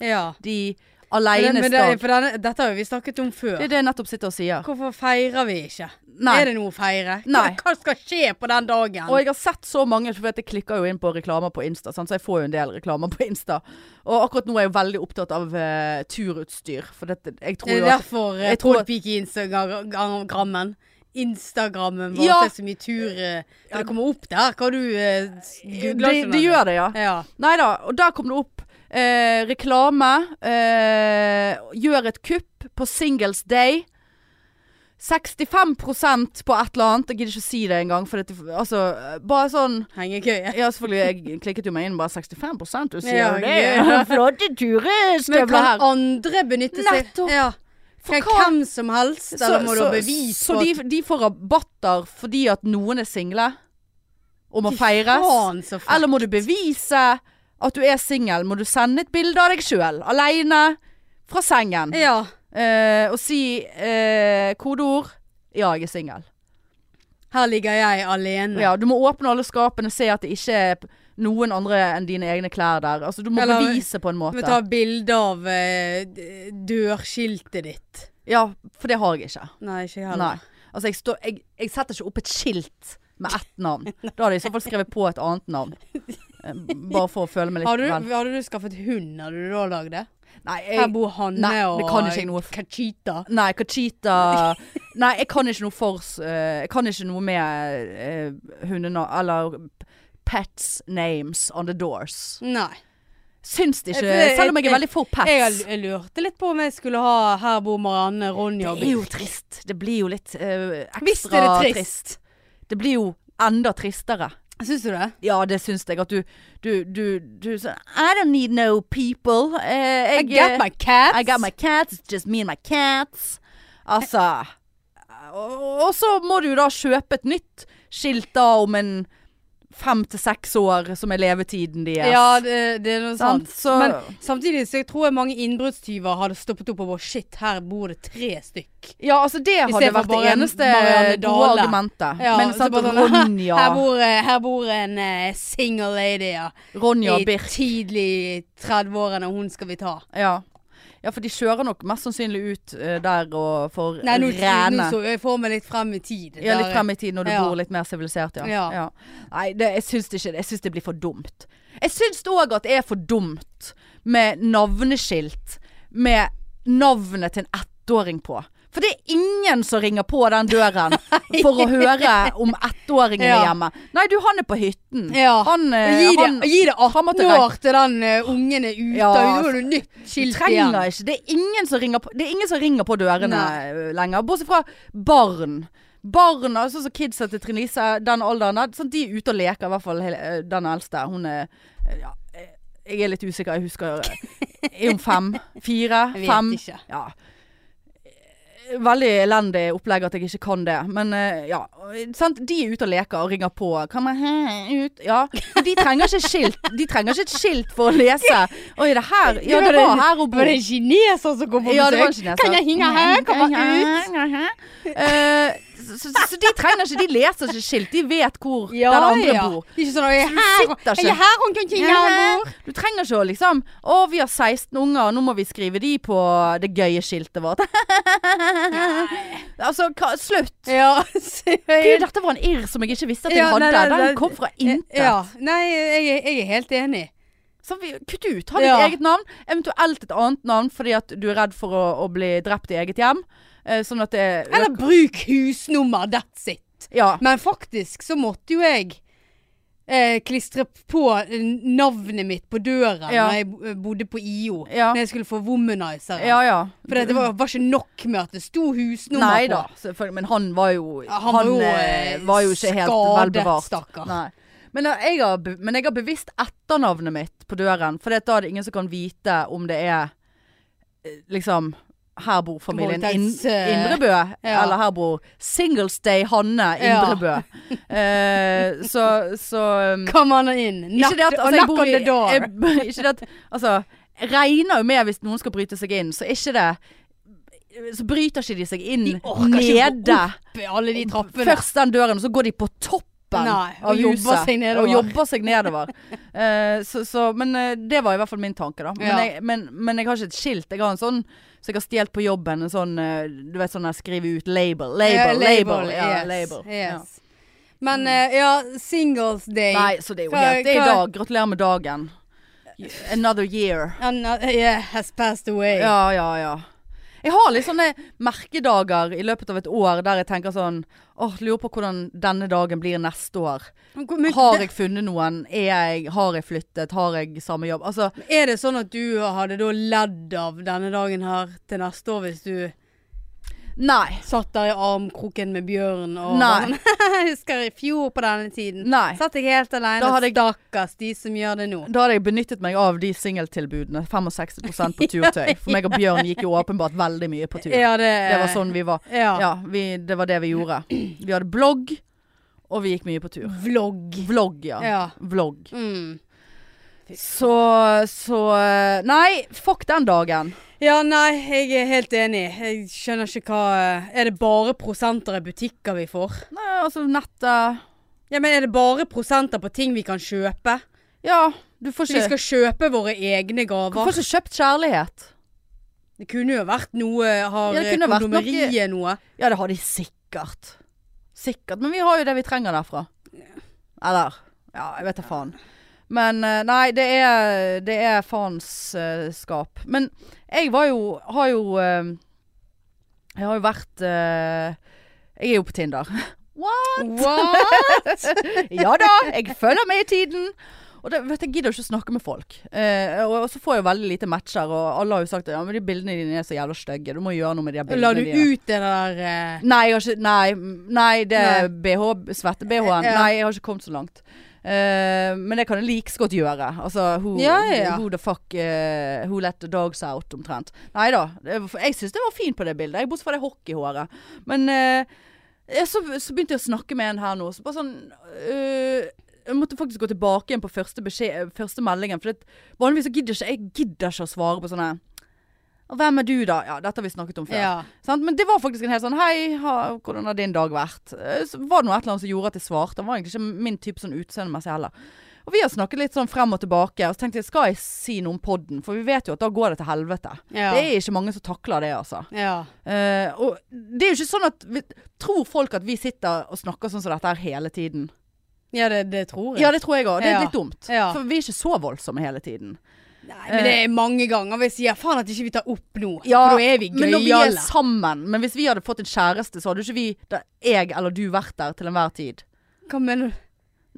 ja.
De
Men,
aleines
men det,
dag.
for denne, dette har jo vi snakket om før.
Det er det jeg nettopp sitter og sier.
Hvorfor feirer vi ikke?
Nei.
Er det noe å feire? Hva,
Nei.
hva skal skje på den dagen?
Og jeg har sett så mange, for jeg klikker jo inn på reklamer på Insta, sant? så jeg får jo en del reklamer på Insta. Og akkurat nå er jeg jo veldig opptatt av eh, turutstyr, for dette, jeg tror
det er
jo at
derfor
jeg tror at-
Podpeak i Instagrammen Instagrammen vår
Ja.
det er så mye tur eh, For det kommer opp der hva du uh,
det, Eh, det gjør det, ja.
Ja.
Nei da, og der kom det opp eh, reklame. Eh, gjør et kupp på Singles Day. 65 på et eller annet. Jeg gidder ikke å si det engang. For det, altså, bare sånn
Hengekøye.
Ja, selvfølgelig. Jeg klikket jo meg inn bare 65 du sier
Ja,
jo
ja.
det. Flotte
Men
turestøvler
kan
her.
andre benytte seg
Nettopp.
Ja.
For
Kan
hva-
hvem som helst, eller må du ha bevis
så
på
de, de får rabatter fordi at noen er single og må
Fy
feires?
faen, så fett.
Eller må du bevise at du er singel? Må du sende et bilde av deg sjøl, aleine, fra sengen,
at Ja.
eh, og si eh, kodeord 'ja, jeg er singel'?
Her ligger jeg alene.
Ja, du må åpne alle skapene og se at det ikke er p- noen andre enn dine egne klær der. Altså, du må
Eller-
bevise på en
Vi
måte.
tar bilde av eh, d- dørskiltet ditt.
Ja, for det har jeg ikke.
Nei, ikke jeg
Nei.
heller.
Altså, jeg, står, jeg, jeg setter ikke opp et skilt med ett navn. Da hadde jeg i så fall skrevet på et annet navn. Eh, Bare for å føle meg litt
Hadde
vel.
du, hadde du skaffet hund, hadde du da lagd det?
Nei,
Her
jeg,
bor Hanne
Nei, det kan ikke jeg noe
og
for.
Kachita.
nei, Kachita Nei, jeg kan ikke noe for eh, Jeg kan ikke noe med uh, hundenavn Eller pets names on the doors.
Nei.
Syns det ikke.
Jeg- jeg-
Selv om jeg er
jeg-
veldig for
Jeg har
pets.
l- lurte litt på om jeg skulle ha 'Her bor Marianne, Ronja og
Det er
Biff'.
jo trist. Det blir jo litt eh, ekstra
Visst er det trist.
Det blir jo enda tristere.
Syns du det?
Ja, det syns jeg at du Du, du, du så, I don't need no people. Eh,
I
jeg,
got my cats.
I got my cats. It's just me and my cats. Altså og, og så må du da kjøpe et nytt skilt da om en fem til seks år, som er levetiden deres.
Ja, det, det er noe
Sant,
sant.
så-
Men samtidig så jeg tror jeg mange innbruddstyver hadde stoppet opp og bare Shit, her bor det tre stykk.
Ja, altså det hadde
Istedenfor
vært det
bare en
eneste
Marianne
gode
Dale.
argumentet.
Ja,
Men
så
sant,
bare sånn,
Ronja,
Her bor, eh, her bor en eh, single lady, ja.
Ronja
I
Birk.
tidlig 30-årene, og hun skal vi ta.
Ja. ja, for de kjører nok mest sannsynlig ut eh, der og får
Nei, nå, nå
rene.
så jeg for meg litt frem i tid.
Ja,
Der-
litt frem i tid når du
Ja.
bor litt mer sivilisert, ja.
Ja.
Nei, det, jeg syns det ikke det. Jeg syns det blir for dumt. Jeg syns òg at det er for dumt med navneskilt med navnet til en ettåring på. For det er ingen som ringer på den døren for å høre om ettåringen er
Ja.
hjemme. Nei, du, han er på hytten.
Ja.
Han, eh,
Og gi det,
han,
gi det 18
må til
år til den eh, ungen er ute,
Ja, altså,
og nå har du nytt
Du
skilt igjen.
trenger ikke. Det er ingen som ringer på, det er ingen som ringer på dørene
Nei.
eh, lenger. Bortsett fra barn. Barn, altså så kidsa til Trine Lise, den alderen der, sånn, de er ute og leker, i hvert fall hele- eh, den eldste. Hun er eh, ja, eh, Jeg er litt usikker, jeg husker eh, Er hun fem? Fire?
Jeg vet
Fem?
ikke.
Ja. Eh, Veldig elendig opplegg at jeg ikke kan det, men eh, ja. eh, Sant? De er ute og leker og ringer på. Kan man hæ, ut? Ja. Og De trenger ikke skilt De trenger ikke et skilt for å lese. Oi, det her Ja, det var her hun
Var
bor.
det en kineser som kom på
Ja, det var en
besøk?
kineser.
Kan jeg henge her? Komme ut?
Eh, så, så, så de trenger ikke De leser ikke skilt. De vet hvor den andre bor.
Ikke sånn at jeg er
du
her,
sitter
jeg
ikke.
er her onkel King her bor.
Du trenger ikke å liksom Å, vi har 16 unger, nå må vi skrive de på det gøye skiltet vårt. altså, hva, slutt.
Ja, så
Gud,
jeg,
dette var en irr som jeg ikke visste at jeg
Eh, Ja,
hadde.
nei, nei, nei. Eh,
Den kom fra intet.
ja, nei, jeg, er- jeg er helt enig.
Så vi, kutt ut. Ha ditt
Ja.
eget navn. Eventuelt et annet navn fordi at du er redd for å, å bli drept i eget hjem. Eh, sånn at det
Eller bruk husnummer, that's it.
Ja.
Men faktisk så måtte jo jeg eh, klistre på eh, navnet mitt på døren
Ja.
når jeg bo- eh, bodde på IO.
Ja.
Når jeg skulle få womanizer.
Ja ja.
For det var, var ikke nok med at det sto husnummer
Nei
på.
da, selvfølgelig. Men han var jo
Ja, han var jo,
eh,
eh,
var jo ikke helt
skadet,
velbevart.
stakkar.
Nei. Men, eh, jeg har, be- men jeg har bevisst etternavnet mitt på døren, for det at da er det ingen som kan vite om det er eh, liksom her bor familien In
Voldtekts, eh,
Indrebø,
ja.
eller her bor Singles Day Hanne Indrebø. eh, så, så um,
Come on in. Knock,
Ikke det at
og
altså, jeg
knock
bor
on
i
the door.
jeg, Ikke det at Altså, jeg regner jo med hvis noen skal bryte seg inn, så er ikke det Så bryter ikke de seg inn
De orker ikke å gå
nede.
opp i alle de trappene.
Først den døren, og så går de på toppen
Nei, og
av
jobber
huset.
seg nedover.
Og jobber seg nedover. Eh, så, så, men eh, det var i hvert fall min tanke, da. Men,
Ja.
jeg, men, men jeg har ikke et skilt. Jeg har en sånn som jeg har stjålet på jobben. En sånn eh, du vet sånn der skrive ut label. Label,
Ja,
label. Ja,
Eh, yes,
label. Ja.
Yes. Men eh, ja, singles day.
Nei, så det er jo
Hva-
helt Det er i
hva-
dag. Gratulerer med dagen. Another year.
And, uh, yeah, has passed away.
Ja, ja, ja. Jeg har litt sånne merkedager i løpet av et år der jeg tenker sånn Åh, lurer på hvordan denne dagen blir neste år.
Men,
Har jeg funnet noen? Er jeg, har jeg flyttet? Har jeg samme jobb? Altså,
Er det sånn at du hadde da ledd av denne dagen her til neste år hvis du
nei.
satt der i armkroken med bjørn og
Nei.
var sånn, Jeg husker i fjor på denne tiden.
Nei.
Satt jeg helt alene.
Da hadde jeg-
Stakkars de som gjør det nå.
Da hadde jeg benyttet meg av de singeltilbudene. 65 på turtøy. For meg og Bjørn gikk jo åpenbart veldig mye på tur.
Ja, det,
Det var sånn vi var.
Ja.
Ja, vi, det var det vi gjorde. Vi hadde blogg, og vi gikk mye på tur.
Vlogg.
Vlogg, ja.
Ja.
Vlogg.
Mm.
Så, så eh, Nei, fuck den dagen.
Ja, nei, jeg er helt enig. Jeg skjønner ikke hva eh, Er det bare prosenter i butikker vi får?
Nei, altså nettet
Ja, men er det bare prosenter på ting vi kan kjøpe?
Ja, du får
Så vi
ikke
skal kjøpe våre egne
Du får
gaver?
ikke kjøpt kjærlighet.
Det kunne jo vært noe eh, Har
Ja, det kunne vært noe-
kondomeriet noe?
Ja, det har de sikkert. Sikkert. Men vi har jo det vi trenger derfra. Eller Ja, jeg vet da faen. Men eh, nei, det er, det er faenskap. Men jeg var jo Har jo eh, Jeg har jo vært eh, Jeg er jo på Tinder. What? ja da, jeg følger med i tiden. Og det, vet du, Jeg gidder jo ikke å snakke med folk. Eh, og, og så får jeg jo veldig lite matcher, og alle har jo sagt ja, men de bildene dine er så jævla stygge. Du må gjøre noe med de her bildene
La du
dine.
ut det der eh,
Nei, jeg har ikke, nei, m- nei det er
Nei.
BH, svette-BH-en.
Ja.
Nei, jeg har ikke kommet så langt. Eh, men det kan jeg like så godt gjøre. Altså who,
Ja, ja, ja.
who the fuck eh, Who let the dogs out, omtrent. Nei da. Jeg syns det var fint på det bildet, jeg, bortsett fra det hockeyhåret. Men eh, ja, så, så begynte jeg å snakke med en her nå. Så bare sånn øh, Jeg måtte faktisk gå tilbake igjen på første, beskjed, første meldingen. For det, vanligvis så gidder ikke jeg gidder ikke å svare på sånne «Og Hvem er du, da? Ja, dette har vi snakket om før.
Ja.
Sant? Men det var faktisk en helt sånn Hei, ha, hvordan har din dag vært? Eh, Så var det noe et eller annet som gjorde at jeg svarte. Han var egentlig ikke min type sånn utseendemessig heller. Og vi har snakket litt sånn frem og tilbake, og så tenkte jeg skal jeg si noe om podden? For vi vet jo at da går det til helvete.
Ja.
Det er ikke mange som takler det, altså.
ja.
Eh, og det er jo ikke sånn at vi, Tror folk at vi sitter og snakker sånn som dette her hele tiden?
Ja, det, det tror jeg.
Ja, det tror jeg òg. Det er
Ja.
litt dumt.
Ja.
For vi er ikke så voldsomme hele tiden.
Nei, men det er mange ganger vi sier faen at ikke vi tar opp nå. for da er vi
men når vi er
gøyale.
sammen Men hvis vi hadde fått en kjæreste, så hadde ikke vi da jeg eller du vært der til enhver tid.
Hva mener du?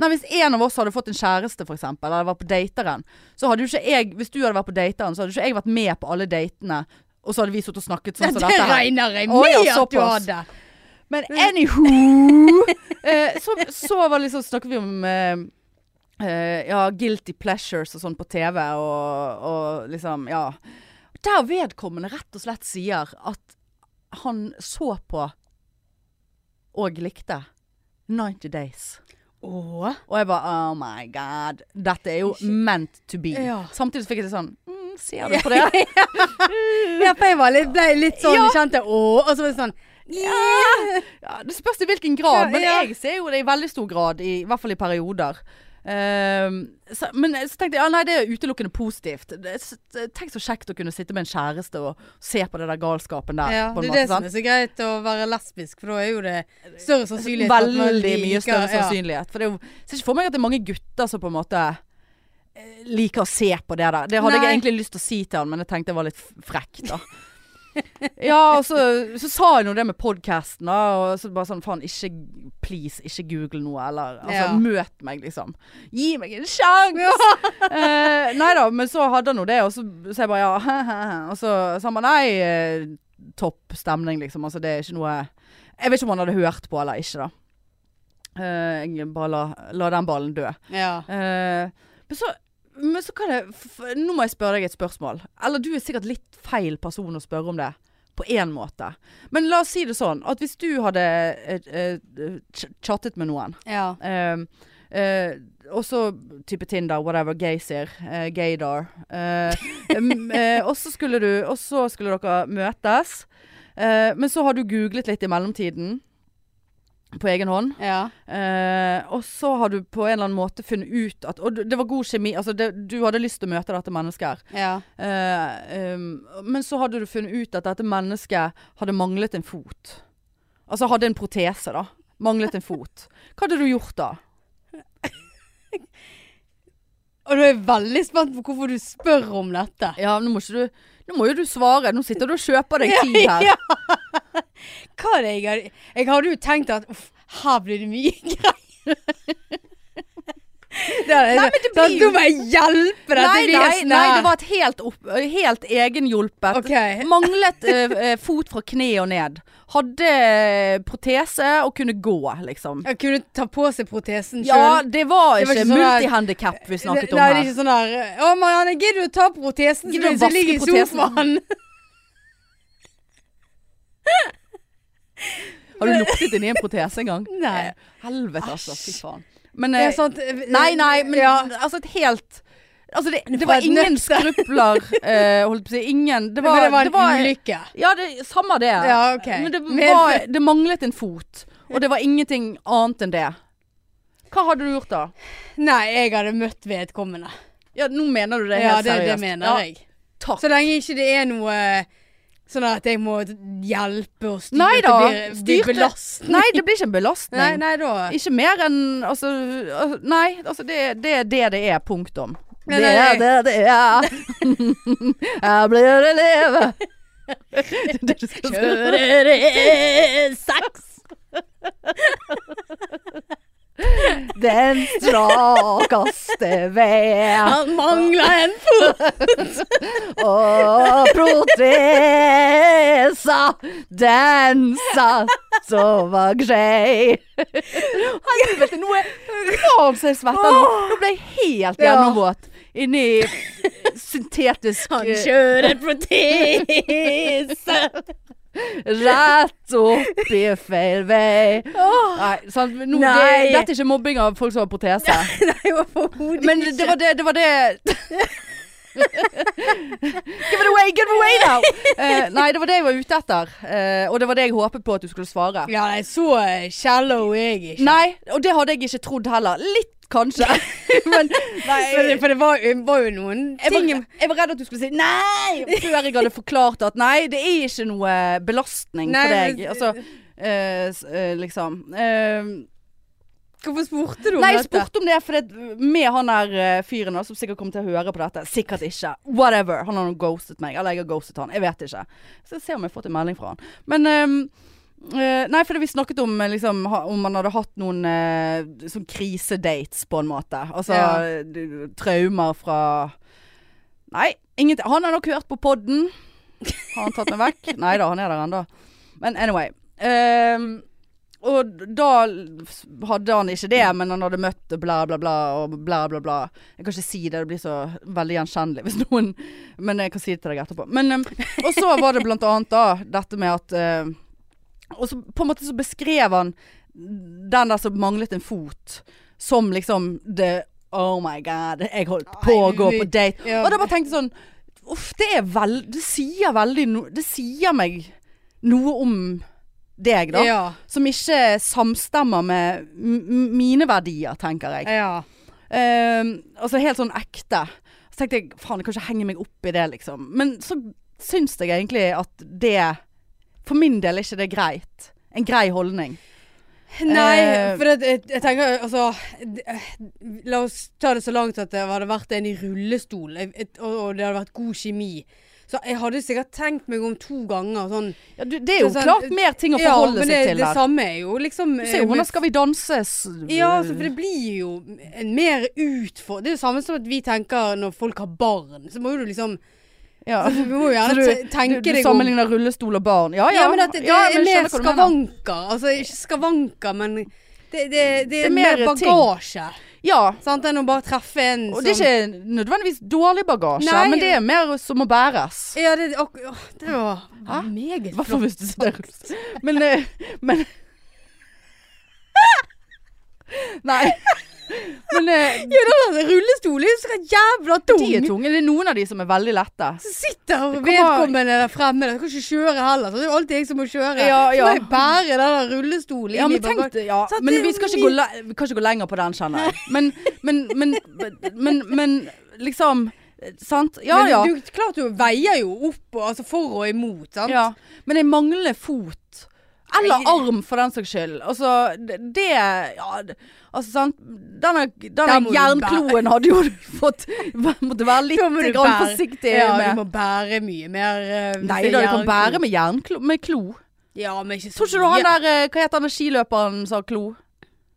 Nei, Hvis en av oss hadde fått en kjæreste, for eksempel, eller var på dateren, så hadde jo ikke jeg Hvis du hadde vært på dateren, så hadde ikke jeg vært med på alle datene, og så hadde vi sittet og snakket sånn som
det
dette. her.
regner jeg
Å,
med
ja,
at du
såpass.
hadde.
Men anywho eh, så, så var liksom, snakket vi om eh, eh, ja, guilty pleasures og sånn på TV, og, og liksom Ja. Der vedkommende rett og slett sier at han så på og likte 90 Days.
Å,
Og jeg bare Oh my god. Dette er jo meant to be.
Ja.
Samtidig så fikk jeg litt sånn mm, Ser du på det?
Ja, for jeg var litt, ble litt sånn,
Ja.
kjente å, og så var det sånn ja.
Ja, det spørs i hvilken grad, men
Ja, ja.
jeg ser jo det i veldig stor grad, i, i hvert fall i perioder. Ehm, så, men så tenkte jeg ja, nei, det er utelukkende positivt. Det, er s- tenk så kjekt å kunne sitte med en kjæreste og se på den der galskapen der.
Ja,
på
det
en
er det
måte,
som er så greit å være lesbisk, for da er jo det større sannsynlighet for at man
Veldig mye
liker-
større
ja.
sannsynlighet. For det er jo, jeg ser ikke for meg at det er mange gutter som på en måte eh, liker å se på det der. Det hadde jeg
Nei.
egentlig lyst til å si til han, men jeg tenkte det var litt f- frekt, da. ja, og så, så sa jeg nå det med podkasten, da. Og så bare sånn faen, ikke please, ikke google noe, eller altså,
Ja.
møt meg, liksom. Gi meg en sjanse! eh, nei da, men så hadde han nå det, og så, så jeg bare ja, og så sa han bare nei, eh, topp stemning, liksom. Altså det er ikke noe Jeg vet ikke om han hadde hørt på eller ikke, da. Eh, jeg bare la, la den ballen dø.
Ja.
Eh, men så men så kan jeg f f- Nå må jeg spørre deg et spørsmål. Eller du er sikkert litt feil person å spørre om det. På én måte. Men la oss si det sånn at hvis du hadde eh, eh, ch- chattet med noen
ja.
eh, eh, også type Tinder, whatever, gaysir, eh, gaydar. Eh, m- eh, og så skulle du Og så skulle dere møtes. Eh, men så har du googlet litt i mellomtiden. På egen hånd.
ja.
Eh, og så har du på en eller annen måte funnet ut at Og det var god kjemi. Altså det, du hadde lyst til å møte dette mennesket.
ja.
Eh, um, men så hadde du funnet ut at dette mennesket hadde manglet en fot. Altså hadde en protese, da. Manglet en fot. Hva hadde du gjort da?
Og da er jeg veldig spent på hvorfor du spør om dette.
Ja, nå må ikke du Nå må jo du svare. Nå sitter du og kjøper deg tid her.
Ja. Hva er det jeg hadde Jeg hadde jo tenkt at uff, her blir det mye greier. Det hadde,
Nei, men det
sånn,
blir
Nå
jo-
må jeg hjelpe deg!
Nei,
det blir
nei,
sånn
nei,
her.
det var et helt, opp, helt egenhjulpet
Ok.
Manglet eh, eh, fot fra kne og ned. Hadde eh, protese og kunne gå, liksom.
Jeg kunne ta på seg protesen sjøl.
Ja, det var
Det var
ikke,
ikke sånn der-
multihandicap vi snakket om
Nei, det er
her.
ikke sånn der Å, Marianne, gidder du å ta protesen
Gidder du å
min som ligger i
vaske protesen?
sofaen?
Har du luktet inn i en protese en gang? Eh,
Nei.
Helvete, altså. Fy faen. Men,
Ja,
eh,
sant.
nei, nei, men
sånn- ja.
altså et helt Altså det, det
får
var
et nøtt.
ingen skrupler, eh, holdt på å si. Ingen Det var,
Men det var en ulykke.
Ja, det, samme det.
Ja, ok.
Men det,
Men-
var, det manglet en fot, og det var ingenting annet enn det. Hva hadde du gjort da?
Nei, jeg hadde møtt vedkommende.
Ja, nå mener du det
Ja,
helt
det,
seriøst.
det mener
Ja,
jeg.
takk.
Så lenge ikke det er noe sånn at jeg må hjelpe og styre
Nei
at
da,
det blir-
styrte-
blir belastende.
Nei, det blir ikke en belastning.
Nei, nei da.
Ikke mer enn Altså, altså, nei. Altså, det, det er det det er. Punktum.
Nei, nei,
det det er. Her blir det leve. Det er det du skal si.
Kjører
E
det saks?
Den strakeste vei
Han mangler en fot.
og protes. dansa, dansa, så var grei. Helvete, nå er faen så jeg svetter nå. Nå ble jeg helt
Ja.
gjennomvåt inni syntetisk
Han
eh,
kjører protese!
Rett opp i feil vei.
Åh,
Nei, sant? Nå,
Nei.
Det, dette er ikke mobbing av folk som har protese.
nei, overhodet
Men det var det, det var det Give it away, give it away now! Eh, nei, det var det jeg var ute etter. Eh, og det var det jeg håpet på at du skulle svare.
Ja, nei, så eh, shallow er jeg ikke.
Nei, og det hadde jeg ikke trodd heller. Litt, kanskje. Men nei,
For det, for det var, var jo noen
jeg var,
ting
jeg var redd at du skulle si nei før jeg hadde forklart at nei, det er ikke noe belastning
Nei,
for deg.
men-
Altså, eh, s- eh, liksom. Eh,
Hvorfor spurte du om
Nei, jeg
dette?
spurte om det, for det, med han der eh, fyren da, som sikkert kommer til å høre på dette. Sikkert ikke. Whatever. Han har nå ghostet meg. Eller jeg har ghostet han. Jeg vet ikke. Så jeg ser om jeg har fått en melding fra han. Men ehm, eh, Nei, for det vi snakket om eh, liksom, ha, om man hadde hatt noen eh, sånn krisedates, på en måte. Altså
Ja.
d- traumer fra Nei, ingenting. Han har nok hørt på podden. Har han tatt meg vekk? Nei da, han er der ennå. Men anyway. ehm, og da hadde han ikke det, men han hadde møtt bla, bla, bla og bla, bla, bla. Jeg kan ikke si det, det blir så veldig gjenkjennelig hvis noen Men jeg kan si det til deg etterpå. Men, em, og så var det blant annet da dette med at eh, Og så på en måte så beskrev han den der som manglet en fot, som liksom det Oh my god, jeg holdt på å gå på date.
Ja.
Og da bare tenkte jeg sånn Uff, det er vel Det sier veldig no, Det sier meg noe om deg, da
Ja.
som ikke samstemmer med m- m- mine verdier, tenker jeg.
ja.
Ehm, altså helt sånn ekte. Så tenkte jeg faen, jeg kan ikke henge meg opp i det, liksom. Men så syns jeg egentlig at det For min del er ikke det greit. En grei holdning.
Nei,
Eh,
for det, jeg, jeg tenker altså d- eh, La oss ta det så langt at det hadde vært en i rullestol, jeg- et- og, og det hadde vært god kjemi. Så jeg hadde sikkert tenkt meg om to ganger sånn.
Ja, du, det er jo
Det er sånn-
klart mer ting å
ja,
forholde
men
seg
det,
til
det
der.
samme er jo liksom
Du
eh,
ser jo
med-
hvordan skal vi danse? s-
Ja, altså, for det blir jo en mer utfor... Det er det samme som at vi tenker når folk har barn. Så må jo du liksom
Ja.
altså, Vi må
Så
jo gjerne
du,
te- tenke
du, du
deg om.
sammenligner rullestol og barn. Ja, ja.
Ja, men at det, det
Ja,
er
men jeg
mer
skjønner hva du mener.
skavanker. Altså ikke skavanker, men det, det, det, er
mer
mer
ting.
bagasje.
Ja,
Sant, enn å bare treffe en
Og det er ikke nødvendigvis dårlig bagasje,
Sånn. Nei.
men det er mer som må bæres.
Ja, det, ak åh, det var
Hæ?
meget
Hva
flott.
hvis du Men, eh, men Nei. Men eh,
Ja, da, da, rullestol er jo så jævla tung.
de er tunge. Det er noen av de som er veldig lette.
Så sitter
kommer-
vedkommende der fremme. Der. Jeg kan ikke kjøre heller. Så det er jo alltid jeg som må kjøre.
Ja, ja.
Så må jeg bære den der rullestolen
Ja,
inn
men,
i
tenk,
bagasjen.
det, ja.
Så at
men
det-
vi skal ikke gå, le vi kan ikke gå lenger på den, kjenner jeg. Men, men, men, men, men liksom eh, Sant? Ja,
Men
ja.
Du, klart du veier jo opp og, altså for og imot, sant?
Ja, men jeg mangler fot. Eller
Nei.
arm, for den saks skyld. Altså, det, det ja, det- Altså, sant Denne, denne
Der må du
jernkloen hadde jo du fått Måtte være litt
Da må du
grann
bære.
forsiktig
Ja, du
med.
må bære mye mer eh,
Nei
hvis det
da,
er
du kan
jern-
bære med jernklo. Med klo.
Ja, men ikke så
Tror ikke du han
mye.
der eh, Hva heter han der skiløperen som har klo?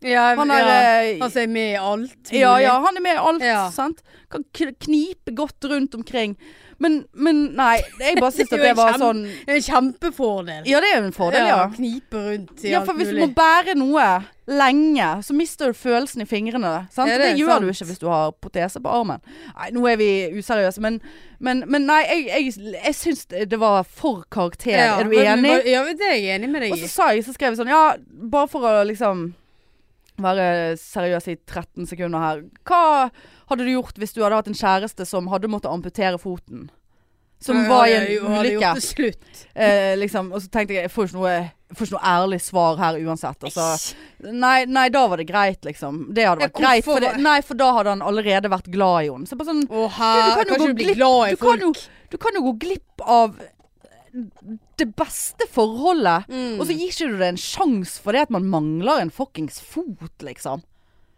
ja,
Han er,
ja.
eh,
Han som er med i alt.
Ja
mulig.
ja, han er med i alt,
Ja.
sant. Kan k- knipe godt rundt omkring. Men, men nei. Jeg bare syns at
Det er jo
det
en
var
kjem-
sånn
En kjempefordel.
Ja, det er jo en fordel, ja.
Knipe rundt i
Ja,
alt
for hvis du
mulig.
må bære noe lenge, så mister du følelsen i fingrene. Sant?
Ja,
det,
det er
gjør
sant.
du ikke hvis du har protese på armen. Nei, nå er vi useriøse, men, men, men nei, jeg, jeg, jeg syns det var for karakter. er du
men-
enig?
men- Ja, det er jeg enig med deg
Og så
i.
sa jeg, så skrev jeg sånn, ja, bare for å liksom være seriøs i 13 sekunder her. Hva hadde du gjort hvis du hadde hatt en kjæreste som hadde måttet amputere foten? Som
Jeg
var i
hadde jo-
en
hadde
ulykke.
gjort det slutt.
Eh, liksom, og så tenkte jeg, jeg får ikke noe, jeg får ikke noe ærlig svar her uansett. Altså. Nei, nei, da var det greit, liksom. Det hadde
Ja,
vært greit. For, det,
hvorfor-
nei, for da hadde han allerede vært glad i henne. Så bare sånn,
Å,
du
her
kan jo
kan ikke
gå
du bli
glipp-
glad i
du kan
folk.
jo, du kan jo gå glipp av det beste forholdet,
Mm.
og så gir ikke du det en sjanse fordi at man mangler en fuckings fot, liksom.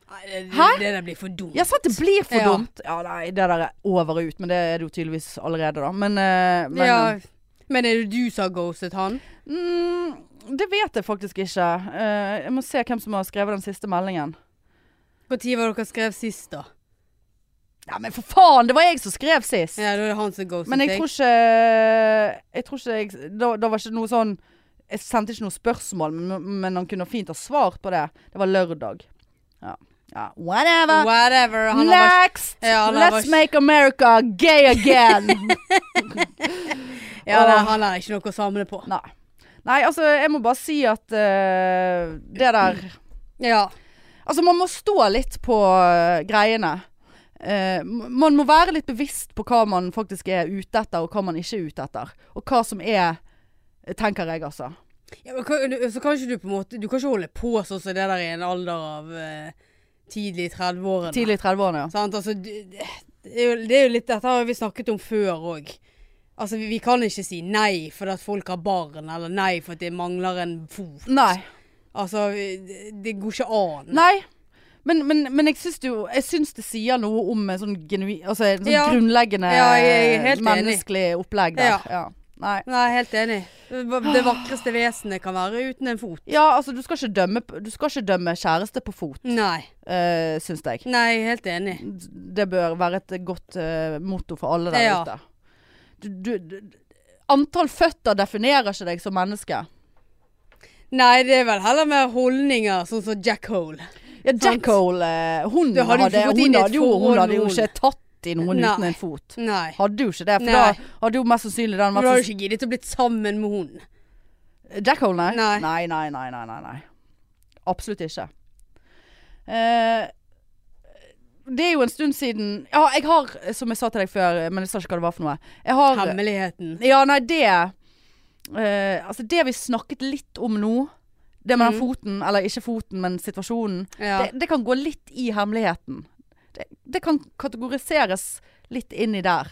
Nei, det,
Hæ?
det, det der blir for dumt.
Ja, sant, det blir for
Ja.
dumt. Ja, nei, det der er over og ut, men det er det jo tydeligvis allerede, da. Men, eh, men
Ja. Men er det du som har ghostet han?
Mm, det vet jeg faktisk ikke. Eh, jeg må se hvem som har skrevet den siste meldingen.
Når var det dere skrev sist, da?
Nei, men for faen, det var jeg som skrev sist.
Ja, da er det han som ghoster
Men jeg
deg.
tror ikke Jeg tror ikke jeg Da, da var ikke noe sånn Jeg sendte ikke noe spørsmål, men, men han kunne fint ha svart på det. Det var lørdag. Ja. ja. Whatever.
Whatever. Han har bare
Next!
Ja, han har
Let's
bare-
make America gay again!
ja, nei, han har ikke noe å samle på.
Nei. Nei, altså, jeg må bare si at eh, det der
Ja.
Altså, man må stå litt på eh, greiene. Eh, m- man må være litt bevisst på hva man faktisk er ute etter, og hva man ikke er ute etter. Og hva som er Tenker jeg, altså.
Ja, men kan, du- så kan ikke du på en måte Du kan ikke holde på sånn som det der i en alder av eh, tidlig 30-årene.
Tidlig i 30-årene, ja.
Sant? Altså, du- det, det, er jo, det er jo litt Dette har vi snakket om før òg. Altså, vi, vi kan ikke si nei fordi at folk har barn, eller nei fordi det mangler en fot.
Nei.
Altså, vi- det, det går ikke an.
Nei. Men, men, men jeg syns det jo Jeg syns det sier noe om en sånn, genui, altså en sånn
Ja.
grunnleggende
Ja, jeg er helt enig.
menneskelig opplegg der.
Ja.
Ja. Nei.
Nei, helt enig. Det vakreste vesenet kan være uten en fot.
Ja, altså, du skal ikke dømme, p- du skal ikke dømme kjæreste på fot,
Nei.
uh, syns jeg.
Nei, helt enig.
det bør være et godt eh, motto for alle der
Ja.
ute. Du, du, du, antall føtter definerer ikke deg som menneske.
Nei, det er vel heller mer holdninger, sånn som Jack Hole.
Ja,
Sant.
Jackhole eh, hun,
Du hadde jo
hadde,
ikke gått
hun,
inn i et
hadde jo,
forhold
hun hadde jo
med
ikke tatt i noen
Nei.
uten en fot.
Nei.
Hadde jo ikke det, for
Nei.
da hadde jo mest sannsynlig den
Men du har jo
vært
ikke giddet å blitt sammen med hun.
Jackhole, nei?
Nei.
Nei, nei, nei, nei, nei, nei. Absolutt ikke. Eh, det er jo en stund siden Ja, jeg har, som jeg sa til deg før, men jeg sa ikke hva det var for noe. Jeg har
Hemmeligheten.
Ja, nei, det eh, Altså, det vi snakket litt om nå, det med den foten, eller ikke foten, men situasjonen,
Ja.
det, det kan gå litt i hemmeligheten. Det, det kan kategoriseres litt inni der,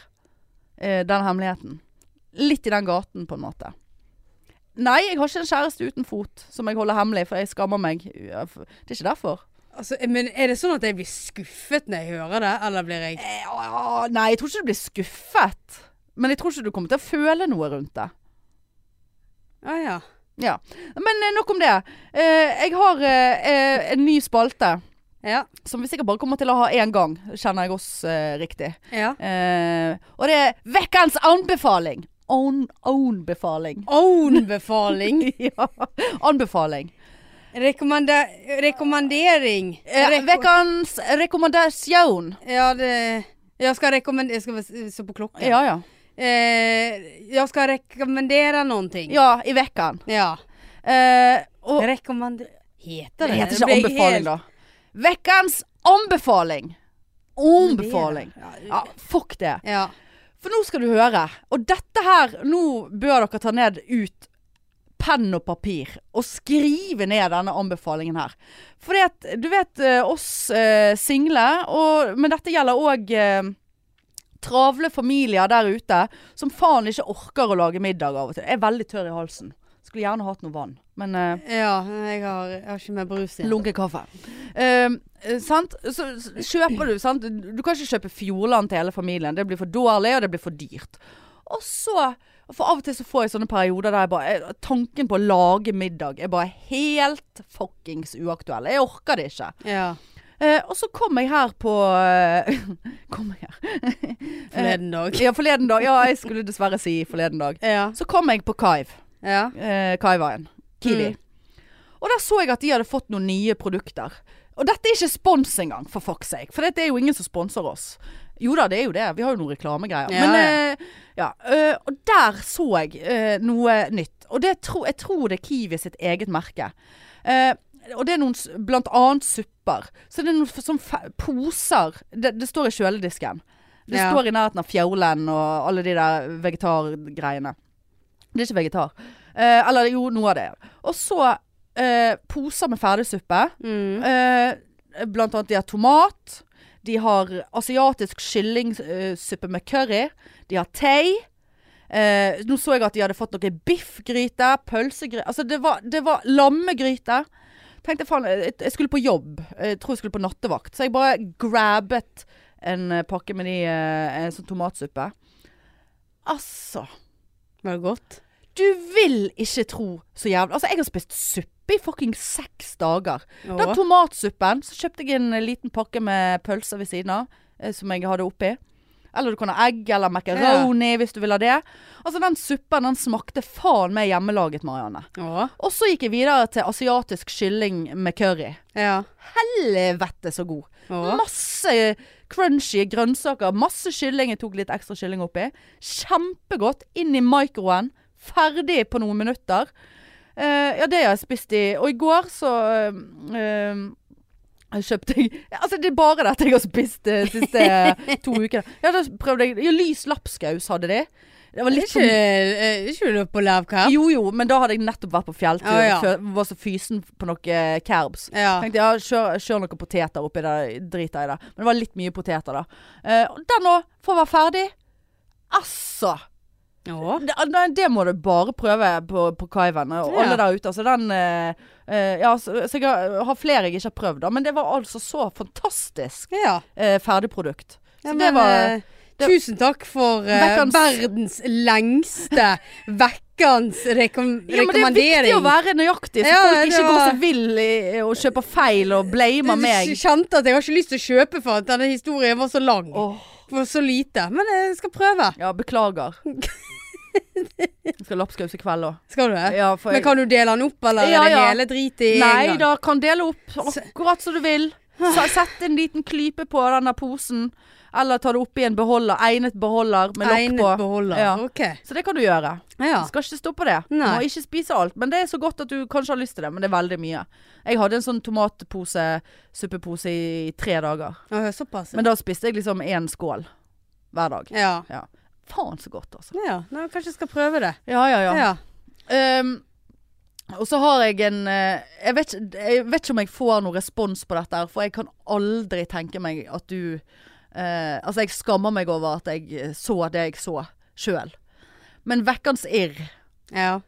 eh, den hemmeligheten. Litt i den gaten, på en måte. Nei, jeg har ikke en kjæreste uten fot som jeg holder hemmelig, for jeg skammer meg. Ja, for- Det er ikke derfor.
Altså, men er det sånn at jeg blir skuffet når jeg hører det, eller blir jeg
Eh, ja, Nei, jeg tror ikke du blir skuffet. Men jeg tror ikke du kommer til å føle noe rundt det.
Å Ah, ja.
Ja. Men eh, nok om det. Eh, jeg har eh, eh, en ny spalte.
Ja.
Som vi sikkert bare kommer til å ha én gang, kjenner jeg oss eh, riktig.
ja.
Eh, og det er Vekkens anbefaling! Own, own-befaling.
Own-befaling.
ja. Anbefaling.
Rekommenda rekommendering.
Eh,
Reko-
Vekkens rekommendasjon.
ja, det Jeg skal rekommendere Jeg skal bare se på klokken.
Ja, ja.
Eh, jeg skal rekommendere noe.
Ja, i vekken.
ja.
Eh, og
Rekommender...
det
Heter det
heter
Det ble
ikke
jeg
anbefaling,
helt-
da. Vekkens anbefaling. Anbefaling.
Ja.
Ja, fuck det.
ja.
For nå skal du høre. Og dette her, nå bør dere ta ned ut penn og papir og skrive ned denne anbefalingen her. For at, du vet eh, oss eh, single, og, men dette gjelder òg eh, travle familier der ute som faen ikke orker å lage middag av og til. Jeg er veldig tørr i halsen. Skulle gjerne hatt noe vann, men eh,
ja jeg, har, jeg har ikke mer brus igjen.
Lunken kaffe. Ehm, eh, sant? Så, så kjøper du, sant? Du kan ikke kjøpe Fjordland til hele familien. Det blir for dårlig, og det blir for dyrt. Og så For av og til så får jeg sånne perioder der jeg bare eh, Tanken på å lage middag er bare helt fuckings uaktuell. Jeg orker det ikke.
Ja,
Eh, og så kom jeg her på eh, Kom jeg her?
Forleden dag.
Ja, forleden dag. Ja, jeg skulle dessverre si forleden dag.
Ja.
Så kom jeg på Kaiv
ja.
eh, Kaiwaien. Kiwi.
Mm.
Og der så jeg at de hadde fått noen nye produkter. Og dette er ikke spons engang, for fuck's sake. For det er jo ingen som sponser oss. Jo da, det er jo det. Vi har jo noen reklamegreier.
Ja,
Men eh, ja. eh, og der så jeg eh, noe nytt. Og det tro, jeg tror det er Kiwi sitt eget merke. Eh, og det er noen s- blant annet supper. Så det er noen f- sånn fe- poser. Det, det står i kjøledisken. Det
Ja.
står i nærheten av Fjaulen og alle de der vegetargreiene. Det er ikke vegetar. Eh, eller jo, noe av det. Og så eh, poser med ferdigsuppe.
Mm.
Eh, blant annet de har tomat. De har asiatisk kyllingsuppe med curry. De har tei. Eh, nå så jeg at de hadde fått noe biffgryte, pølsegryte Altså det var, det var lammegryte. Tenkte faen, eh, jeg, jeg skulle på jobb. Jeg tror jeg skulle på nattevakt. Så jeg bare grabbet en eh, pakke med de, eh, en sånn tomatsuppe. Altså
Var det godt?
Du vil ikke tro så jævlig Altså, jeg har spist suppe i fucking seks dager. Den
Å.
eh, tomatsuppen, så kjøpte jeg en liten pakke med pølser ved siden av. eh, som jeg hadde oppi. Eller du kan ha egg eller macaroni hvis du vil ha det. Altså Den suppen den smakte faen meg hjemmelaget, Marianne.
Å,
Og så gikk jeg videre til asiatisk kylling med curry.
ja.
Helvete så god.
Å.
Masse crunchy grønnsaker. Masse kylling. Jeg tok litt ekstra kylling oppi. Kjempegodt. Inn i mikroen. Ferdig på noen minutter. Eh, ja, det har jeg spist i Og i går så eh, eh, kjøpte jeg Altså, det er bare dette jeg har spist eh, de siste to ukene. Ja, da prøvde jeg ja, Lys lapskaus hadde de. Det var
Er
litt sånn-
ikke, er ikke eh, du på lavkapp?
Jo jo, men da hadde jeg nettopp vært på fjelltur.
Å, ja.
fø- Var så fysen på noe eh, kerbs.
Ja.
Tenkte ja, kjør, kjør noen poteter oppi der, driter jeg i det. Men det var litt mye poteter da. Eh, og den nå, for å være ferdig. Altså!
Å.
Det, nei, det må du bare prøve på, på kaiven. Og
Ja.
alle der ute. Altså den eh, eh, Ja, så, så jeg har, har flere jeg ikke har prøvd, da. Men det var altså så fantastisk
Ja.
eh, ferdigprodukt. Så
Ja, men,
det var
eh, Tusen takk for eh,
Vekkans-
verdens lengste vekkans rekom
Ja, men det er viktig
rekommendering.
å være nøyaktig, så
Ja,
folk
det
ikke går
var-
seg vill i- og kjøper feil og blamer meg.
Jeg kjente at jeg har ikke lyst til å kjøpe for at denne historien var så lang.
Åh.
For så lite. Men jeg skal prøve.
Ja, beklager. Jeg skal ha lapskaus i kveld òg.
Skal du det?
Ja, for
Men
jeg-
kan du dele den opp, eller
Ja,
er det
ja.
hele drit i
Nei
en gang?
da, kan dele opp akkurat som du vil. Sa- Sett en liten klype på den der posen. Eller ta det oppi en beholder. Egnet beholder med lokk på.
Egnet beholder.
Ja.
Ok.
Så det kan du gjøre.
Ja.
Du skal ikke stå på det. Du
Nei.
må ikke spise alt. Men det er så godt at du kanskje har lyst til det, men det er veldig mye. Jeg hadde en sånn tomatpose, suppepose i tre dager.
Åh, Såpass.
Men da spiste jeg liksom én skål hver dag.
ja.
Ja. Faen så godt, altså.
ja. Nå, kanskje jeg skal prøve det.
Ja, ja, ja.
Ja.
Ehm, og så har jeg en eh, jeg vet, ikke- jeg vet ikke om jeg får noen respons på dette, her, for jeg kan aldri tenke meg at du eh, Altså, jeg skammer meg over at jeg eh, så det jeg så sjøl. Men vekkans irr
ja.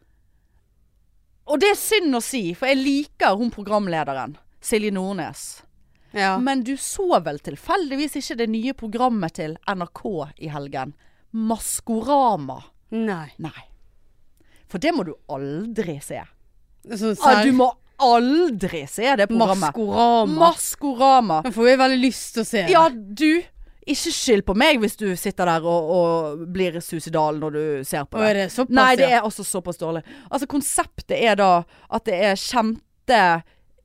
Og det er synd å si, for jeg liker hun programlederen. Silje Nordnes.
ja.
Men du så vel tilfeldigvis ikke det nye programmet til NRK i helgen? Maskorama.
Nei.
Nei. For det må du aldri se.
Sånn
Ah,
sær...
du må aldri se det programmet.
Maskorama.
Maskorama.
Nå får vi veldig lyst til å se det.
Ja, du. Ikke skyld på meg hvis du sitter der og, og blir suicidal når du ser på
Å,
det.
er det såpass,
Nei, det
ja?
er altså såpass dårlig. Altså, konseptet er da at det er kjente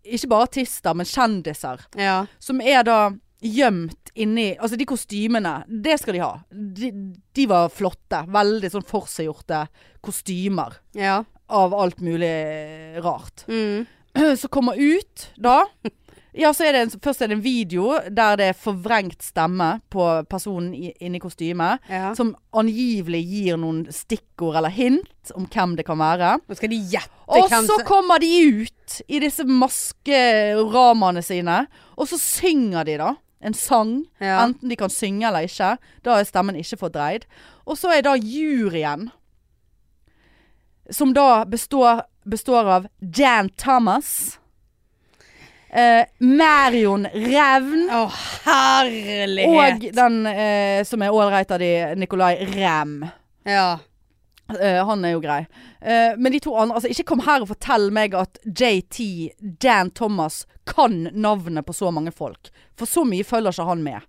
Ikke bare artister, men kjendiser.
Ja.
Som er da gjemt inni Altså, de kostymene, det skal de ha. De, de var flotte. Veldig sånn forseggjorte kostymer
Ja.
av alt mulig rart.
Mm.
som kommer ut da. Ja, så er det en, først er det en video der det er forvrengt stemme på personen i, inni kostymet.
ja.
Som angivelig gir noen stikkord eller hint om hvem det kan være.
Nå skal de gjette
Og
hvem
så
som
kommer de ut i disse maskeramaene sine. Og så synger de da en sang.
Ja.
Enten de kan synge eller ikke. Da er stemmen ikke fordreid. Og så er da juryen, som da består, består av Jan Thomas. Eh, Marion Revn.
Å, herlighet!
Og den eh, som er ålreit av de, Nicolay Rem.
Ja.
Eh, han er jo grei. Eh, men de to andre altså, Ikke kom her og fortell meg at JT, Dan Thomas, kan navnet på så mange folk. For så mye følger ikke han med.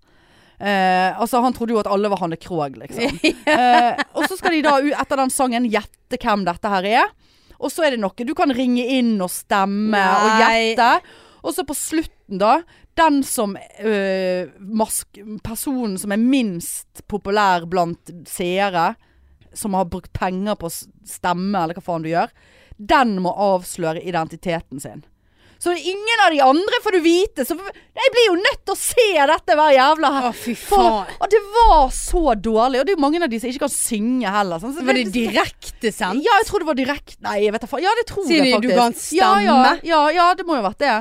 Eh, altså Han trodde jo at alle var Hanne Krogh, liksom. Eh, og så skal de da u- etter den sangen gjette hvem dette her er. Og så er det noe. Du kan ringe inn og stemme og
Nei.
gjette. Og så på slutten, da. Den som eh, mask, Personen som er minst populær blant seere som har brukt penger på å s- stemme, eller hva faen du gjør, den må avsløre identiteten sin. Så ingen av de andre får du vite. Så jeg blir jo nødt til å se dette hver jævla
Å, fy
For-
faen.
Og det var så dårlig. Og det er jo mange av de som ikke kan synge heller. Sånn. Så
Var det
det-
direktesendt?
ja, jeg tror det var direkte Nei, jeg vet da faen. Ja, det tror
Siden
jeg faktisk.
du ga en stemme.
Ja, ja, ja, ja, det må jo ha vært det.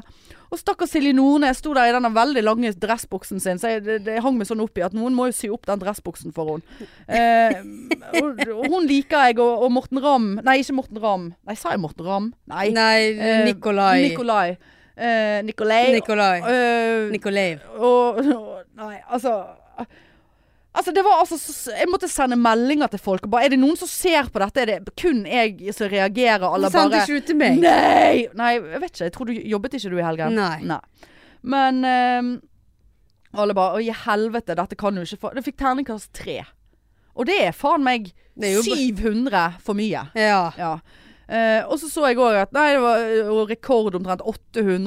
Og stakkars Silje Nordnes sto der i denne veldig lange dressbuksen sin, så jeg, det, det hang meg sånn opp i at noen må jo sy opp den dressbuksen for henne. Eh, og, og hun liker jeg, og, og Morten Ramm Nei, ikke Morten Ramm. Nei, sa jeg Morten Ramm? Nei.
Nei,
Eh,
Nikolai.
Nikolai. Eh, Nikolai.
Nikolai.
Eh,
Nikolai.
og, og Nei, altså Altså, det var altså så, Jeg måtte sende meldinger til folk. og Bare, er det noen som ser på dette? Er det kun jeg som reagerer? Eller
Sendte
bare
ikke du til meg?
Nei! Nei, jeg vet ikke. Jeg tror du jobbet ikke du i helgen.
Nei.
Men ehm, Og alle bare 'Å, i helvete, dette kan du ikke få'. Det fikk terningkast tre. Og det er faen meg
Det er jo bra.
700 for mye.
Ja.
Ja. Eh, og så så jeg òg at nei, det var eh, rekord omtrent 800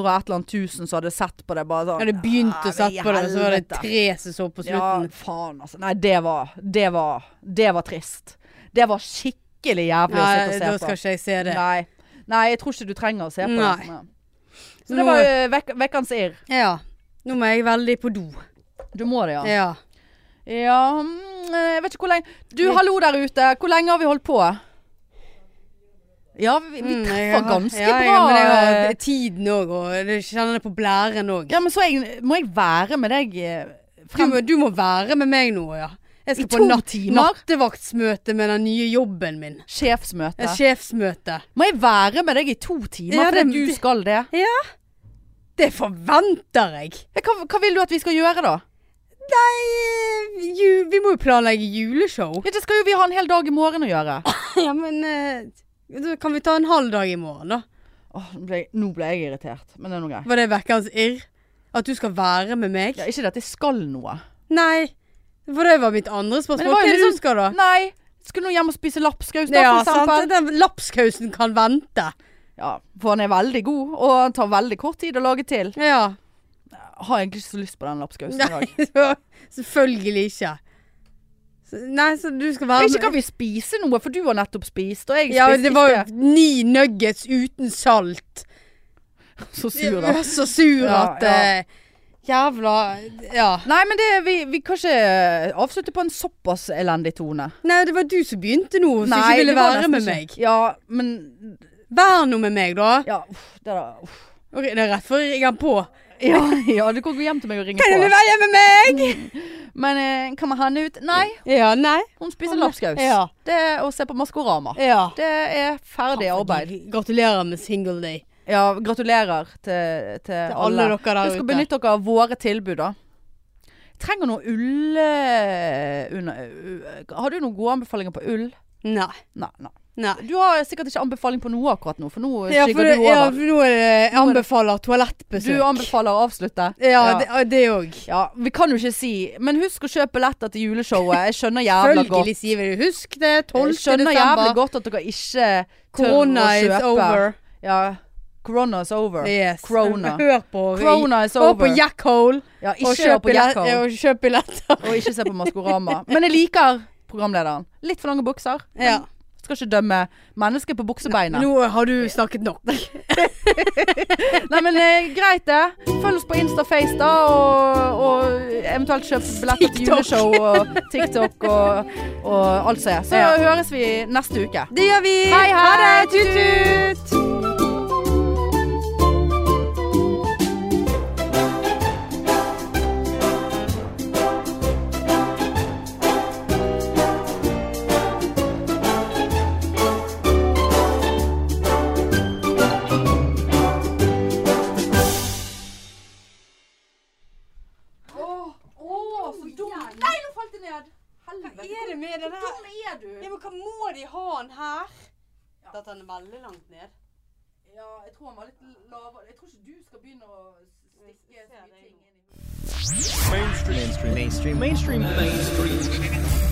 og et eller annet tusen som hadde sett på det. Bare sånn,
Jeg hadde begynt
«Ja, men
å
i
sette på det, og så var det
helvete».
tre som så på
Ja,
slutten.
faen altså. Nei, det var, det var, det var trist. Det var skikkelig jævlig
Nei,
å sitte og se
da
på.
skal ikke jeg se det.
Nei. Nei, jeg tror ikke du trenger å se på
Nei.
det. sånn, ja. Så
Nå-
det var eh, vekk- vekkens irr.
Ja. Nå må jeg veldig på do.
Du må det, ja.
Ja.
Ja, mm, jeg vet ikke hvor lenge Du, hallo der ute. Hvor lenge har vi holdt på? Ja, vi, vi
Mm, jeg
treffer
har-
ganske
ja,
bra.
Ja, men jeg
eh,
har tiden òg, og jeg kjenner det på blæren òg.
Ja, men så er jeg, må jeg være med deg eh,
Du,
frem
må- du må være med meg nå, ja. Jeg
i
skal
to
på natt
timer.
nattevaktsmøte med den nye jobben min.
Sjefsmøte.
Et sjefsmøte.
Må jeg være med deg i to timer
Ja,
fordi
det-
du skal det?
Det forventer jeg!
Ja, Hva, hva vil du at vi skal gjøre da?
Nei, eh, ju, vi må jo planlegge juleshow.
Ja, det skal jo vi ha en hel dag i morgen å gjøre.
Ja, men eh, da kan vi ta en halv dag i morgen, da?
Åh, nå ble jeg- nå ble jeg irritert, men det er noe greit.
Var det vekkens irr? At du skal være med meg?
Ja, ikke det at jeg skal noe.
Nei. For det var mitt andre
Men
spørsmål.
det var
Hva
jo liksom
er det
litt
du skal, da?
Nei, skal nå hjem og spise lapskaus da,
Ja,
for eksempel.
sant. Den lapskausen kan vente.
Ja, for han er veldig god, og han tar veldig kort tid å lage til.
Ja.
Jeg har egentlig ikke så lyst på den lapskausen i dag.
Nei, så, selvfølgelig ikke. Så, nei, så du skal være
Ikke kan vi spise noe, for du har nettopp spist, og jeg
Ja,
spiste
det var jo
ikke.
ni nuggets uten salt.
Så
Jeg
sur da.
var så sur
Ja,
at eh, Jævla Ja.
Nei, men det, vi, vi kan ikke eh, avslutte på en såpass elendig tone.
Nei, det var du som begynte nå, som
Nei,
ikke ville
det var
være
nesten
med
ikke-
meg.
Ja, men
Vær nå med meg, da.
Ja, uff, det da. Uff.
Ok, det er rett før jeg ringer på.
Ja, ja, du kan gå hjem til meg og ringe
Kan du
på.
være med meg?
Men eh, kan man ha henne ut? Nei,
Ja, nei.
hun spiser
Hun-
lapskaus.
ja.
Det er å se på Maskorama.
Ja.
Det er ferdig arbeid.
Gratulerer med single day.
Ja, gratulerer til, til,
Til alle
alle.
dere der
Du skal
ute.
benytte dere av våre tilbud, da. Trenger noe ull eh, under, u- Har du noen gode anbefalinger på ull?
Nei.
Nei. nei.
Nei.
Du har sikkert ikke anbefaling på noe akkurat nå, for nå
Ja, for,
skygger
det,
du
ja,
over.
for nå er det, jeg anbefaler toalettbesøk.
du anbefaler å avslutte.
ja, det- det òg.
Ja, Vi kan jo ikke si Men husk å kjøpe billetter til juleshowet. Jeg skjønner jævla godt.
Selvfølgelig sier vi det. Husk det. 12.
Jeg skjønner
desember.
jævlig godt at dere ikke tør
Corona
å
is
kjøpe.
over.
Ja. Corona is over.
Yes.
Corona.
Hør på
Corona is
Hør på
over.
Jackhole
Ja,
og
ikke hør
kjøp
på Jacko.
billett- og kjøp billetter.
Og ikke se på Maskorama. Men jeg liker programlederen. Litt for lange bukser. men
Ja.
Skal ikke dømme mennesker på buksebeinet.
Nå har du snakket nok.
Nei, men eh, greit det. Følg oss på Instaface, da. Og, og eventuelt kjøp billetter til
TikTok.
juleshow og TikTok og, og alt som er. Så
Ja.
høres vi neste uke.
Det gjør vi.
Hei, ha det.
Tut-tut.
Nei, nå falt jeg ned. Helvete.
Hva er det med den her?
Hvor dum er du?
Ja, men hva må de ha den her? At den er veldig langt ned.
Ja, jeg tror han var litt lavere. Jeg tror ikke du skal begynne å stikke så mye ting inn i
mainstream mainstream mainstream mainstream